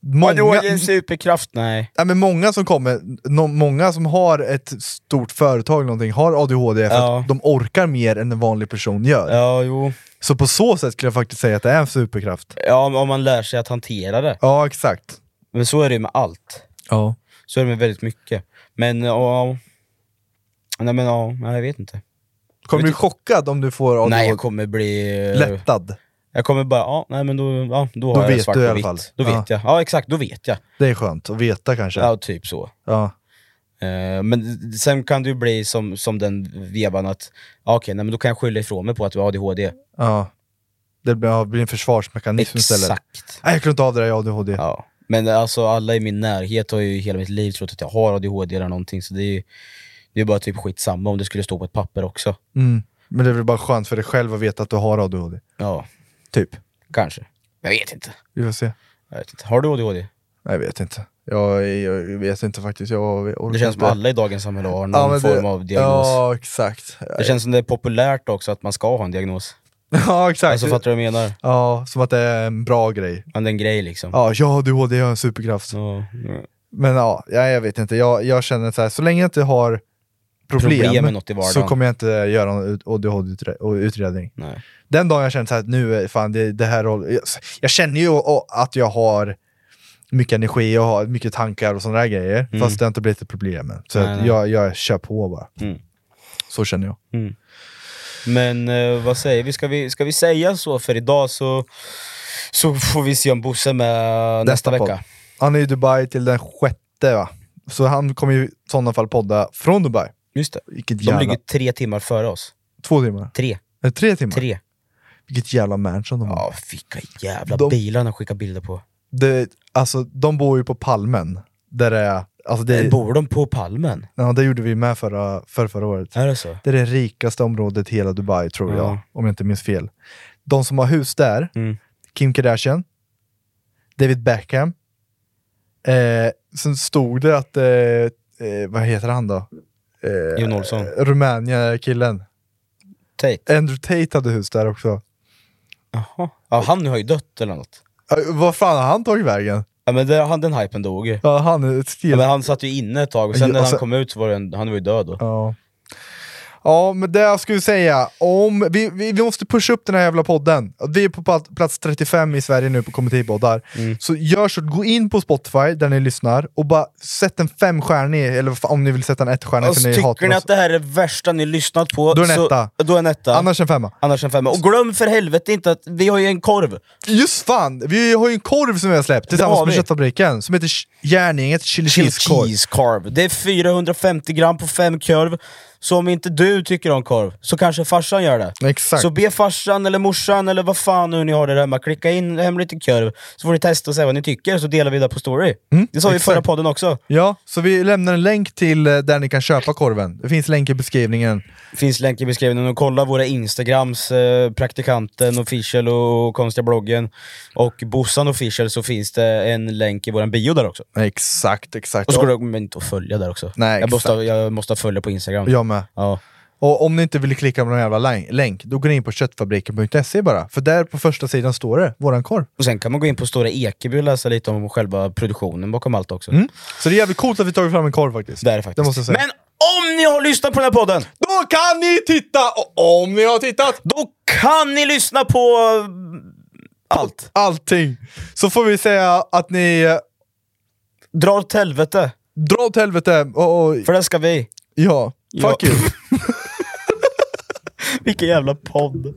Speaker 3: Många,
Speaker 2: ADHD är en superkraft? Nej.
Speaker 3: Ja, men många som kommer, no, många som har ett stort företag eller någonting har ADHD för
Speaker 2: Ja.
Speaker 3: att de orkar mer än en vanlig person gör.
Speaker 2: Ja, jo.
Speaker 3: Så på så sätt skulle jag faktiskt säga att det är en superkraft.
Speaker 2: Ja, om- om man lär sig att hantera det.
Speaker 3: Ja, exakt.
Speaker 2: Men så är det ju med allt.
Speaker 3: Ja.
Speaker 2: Så är det med väldigt mycket. Men ja... Nej men ja, nej, jag vet inte.
Speaker 3: Kommer du bli chockad om du får ADHD?
Speaker 2: Nej, jag kommer bli... eh,
Speaker 3: Lättad.
Speaker 2: Jag kommer bara, ja, nej men då, ja, då har
Speaker 3: Då
Speaker 2: jag
Speaker 3: vet
Speaker 2: svart
Speaker 3: du i
Speaker 2: på
Speaker 3: alla
Speaker 2: vitt.
Speaker 3: fall.
Speaker 2: Då
Speaker 3: Ja.
Speaker 2: vet jag. Ja exakt, då vet jag.
Speaker 3: Det är skönt att veta kanske. Ja.
Speaker 2: Ja, typ så. Eh, men sen kan det ju bli som, som den vevan att, ja, okej, nej men då kan jag skylla ifrån mig på att jag har ADHD.
Speaker 3: Ja. Det blir, ja, blir en försvarsmekanism istället.
Speaker 2: Exakt.
Speaker 3: Nej, jag klarar inte av det där jag har ADHD.
Speaker 2: Ja. Men alltså alla i min närhet har ju hela mitt liv trott att jag har ADHD eller någonting, så det är ju det är bara typ skitsamma om det skulle stå på ett papper också.
Speaker 3: Mm. Men det är väl bara skönt för dig själv att veta att du har ADHD.
Speaker 2: Ja,
Speaker 3: Typ.
Speaker 2: kanske. Jag vet inte.
Speaker 3: Vi får se.
Speaker 2: Jag vet inte. Har du ADHD?
Speaker 3: Nej, Jag vet inte. Jag, jag vet inte faktiskt. Jag, jag orkar
Speaker 2: Det känns som
Speaker 3: inte.
Speaker 2: alla i dagens samhälle har någon
Speaker 3: Ja, men
Speaker 2: form
Speaker 3: det-
Speaker 2: av diagnos.
Speaker 3: Ja, exakt.
Speaker 2: Det känns som det är populärt också att man ska ha en diagnos.
Speaker 3: Ja, exakt.
Speaker 2: Alltså fattar du vad jag menar?
Speaker 3: Ja, som att det är en bra grej.
Speaker 2: Men det är en grej liksom.
Speaker 3: Ja, jag har ADHD, jag har en superkraft.
Speaker 2: Så,
Speaker 3: Men ja, ja, jag vet inte. Jag, jag känner så här, så länge jag inte har problem,
Speaker 2: problem med något i vardagen.
Speaker 3: så kommer jag inte göra någon ut- ADHD-utredning.
Speaker 2: Nej.
Speaker 3: Den dagen jag känner så här, nu är fan det, det här håller- jag, jag känner ju å- att jag har mycket energi och har mycket tankar och sådana där grejer,
Speaker 2: Mm.
Speaker 3: fast det har inte blivit ett problem än. Så
Speaker 2: Nej,
Speaker 3: att
Speaker 2: nej.
Speaker 3: jag, jag kör på bara.
Speaker 2: Mm.
Speaker 3: Så känner jag.
Speaker 2: Men eh, vad säger vi? Ska, vi? ska vi säga så för idag så, så får vi se om Bosse är med nästa,
Speaker 3: Nästa
Speaker 2: vecka.
Speaker 3: Han är i Dubai till den sjätte va? Så han kommer ju i sådana fall podda från Dubai.
Speaker 2: Just det.
Speaker 3: Vilket
Speaker 2: De
Speaker 3: jävla...
Speaker 2: ligger tre timmar före oss.
Speaker 3: Två timmar?
Speaker 2: Tre.
Speaker 3: Eller tre timmar?
Speaker 2: Tre.
Speaker 3: Vilket jävla mansion de har.
Speaker 2: Ja, vilka jävla
Speaker 3: De-
Speaker 2: bilar han skickar bilder på.
Speaker 3: Det, alltså, de bor ju på Palmen. Där det är... Alltså det,
Speaker 2: Bor de på Palmen?
Speaker 3: ja, det gjorde vi med förra, för förra året.
Speaker 2: Är det så?
Speaker 3: Det är det rikaste området i hela Dubai, tror jag.
Speaker 2: Ja.
Speaker 3: Om jag inte minns fel. De som har hus där,
Speaker 2: Mm.
Speaker 3: Kim Kardashian, David Beckham. Eh, sen stod det att, eh, eh, vad heter han då? Eh,
Speaker 2: Jon Olsson.
Speaker 3: Rumänien-killen.
Speaker 2: Tate?
Speaker 3: Andrew Tate hade hus där också.
Speaker 2: Jaha. Ja, han har ju dött eller något.
Speaker 3: Eh, vad fan har han tagit vägen?
Speaker 2: Ja, men det, han, den hypen dog ju.
Speaker 3: Ja, han är ett
Speaker 2: Ja,
Speaker 3: stel...
Speaker 2: men han satt ju inne ett tag, och sen
Speaker 3: Ja,
Speaker 2: när han
Speaker 3: alltså-
Speaker 2: kom ut så var den, han var ju död då.
Speaker 3: Ja. Ja, men det jag skulle säga, om, vi, vi, vi måste pusha upp den här jävla podden. Vi är på pla- plats 35 i Sverige nu på kommittépoddar.
Speaker 2: Mm.
Speaker 3: Så gör så, gå in på Spotify där ni lyssnar och bara sätt en femstjärnig, eller vad fan, om ni vill sätta en ettstjärnig
Speaker 2: Och
Speaker 3: för ni
Speaker 2: Alltså, tycker
Speaker 3: hatar
Speaker 2: ni
Speaker 3: oss.
Speaker 2: att det här är det värsta ni lyssnat på,
Speaker 3: alltså. Då är det en
Speaker 2: så-
Speaker 3: etta.
Speaker 2: Då är en etta.
Speaker 3: Annars en femma.
Speaker 2: Annars en femma. Och glöm för helvete inte att vi har ju en korv!
Speaker 3: Just fan, vi har ju en korv som vi har släppt tillsammans
Speaker 2: har
Speaker 3: med
Speaker 2: vi.
Speaker 3: Köttfabriken som heter Ch- Järngänget Chili Cheese Korv.
Speaker 2: cheese korv. Det är 450 gram på fem korv. Så om inte du tycker om korv, så kanske farsan gör det.
Speaker 3: Exakt.
Speaker 2: Så be farsan eller morsan eller vad fan nu ni har där hemma, klicka in hem lite korv, så får ni testa och säga vad ni tycker, så delar vi det på story. det sa vi
Speaker 3: Mm,
Speaker 2: i
Speaker 3: exakt.
Speaker 2: förra podden också.
Speaker 3: Ja, så vi lämnar en länk till eh, där ni kan köpa korven. Det finns länk i beskrivningen.
Speaker 2: Finns länk i beskrivningen, och kolla våra instagrams, eh, praktikanten official och konstiga bloggen och Bossan official så finns det en länk i våran bio där också.
Speaker 3: Exakt, exakt.
Speaker 2: Och så går det men inte att följa där också.
Speaker 3: Nej,
Speaker 2: jag, måste,
Speaker 3: exakt.
Speaker 2: jag måste följa på instagram.
Speaker 3: Jag med.
Speaker 2: Ja.
Speaker 3: Och om ni inte vill klicka på någon jävla län- länk, då går ni in på köttfabriken.se bara. För där på första sidan står det, våran korv.
Speaker 2: Och sen kan man gå in på Stora Ekeby och läsa lite om själva produktionen bakom allt också.
Speaker 3: Så det är jävligt coolt att vi tagit fram en korv faktiskt.
Speaker 2: Det är det faktiskt.
Speaker 3: Mm. Det måste jag säga.
Speaker 2: Men om ni har lyssnat på den här podden,
Speaker 3: då kan ni titta! Och om ni har tittat,
Speaker 2: då kan ni lyssna på eh, allt.
Speaker 3: allting! Så får vi säga att ni eh,
Speaker 2: Dra åt helvete,
Speaker 3: drar åt helvete och, och
Speaker 2: för det ska vi.
Speaker 3: ja, fuck
Speaker 2: Ja.
Speaker 3: you.
Speaker 2: Vilken jävla podd.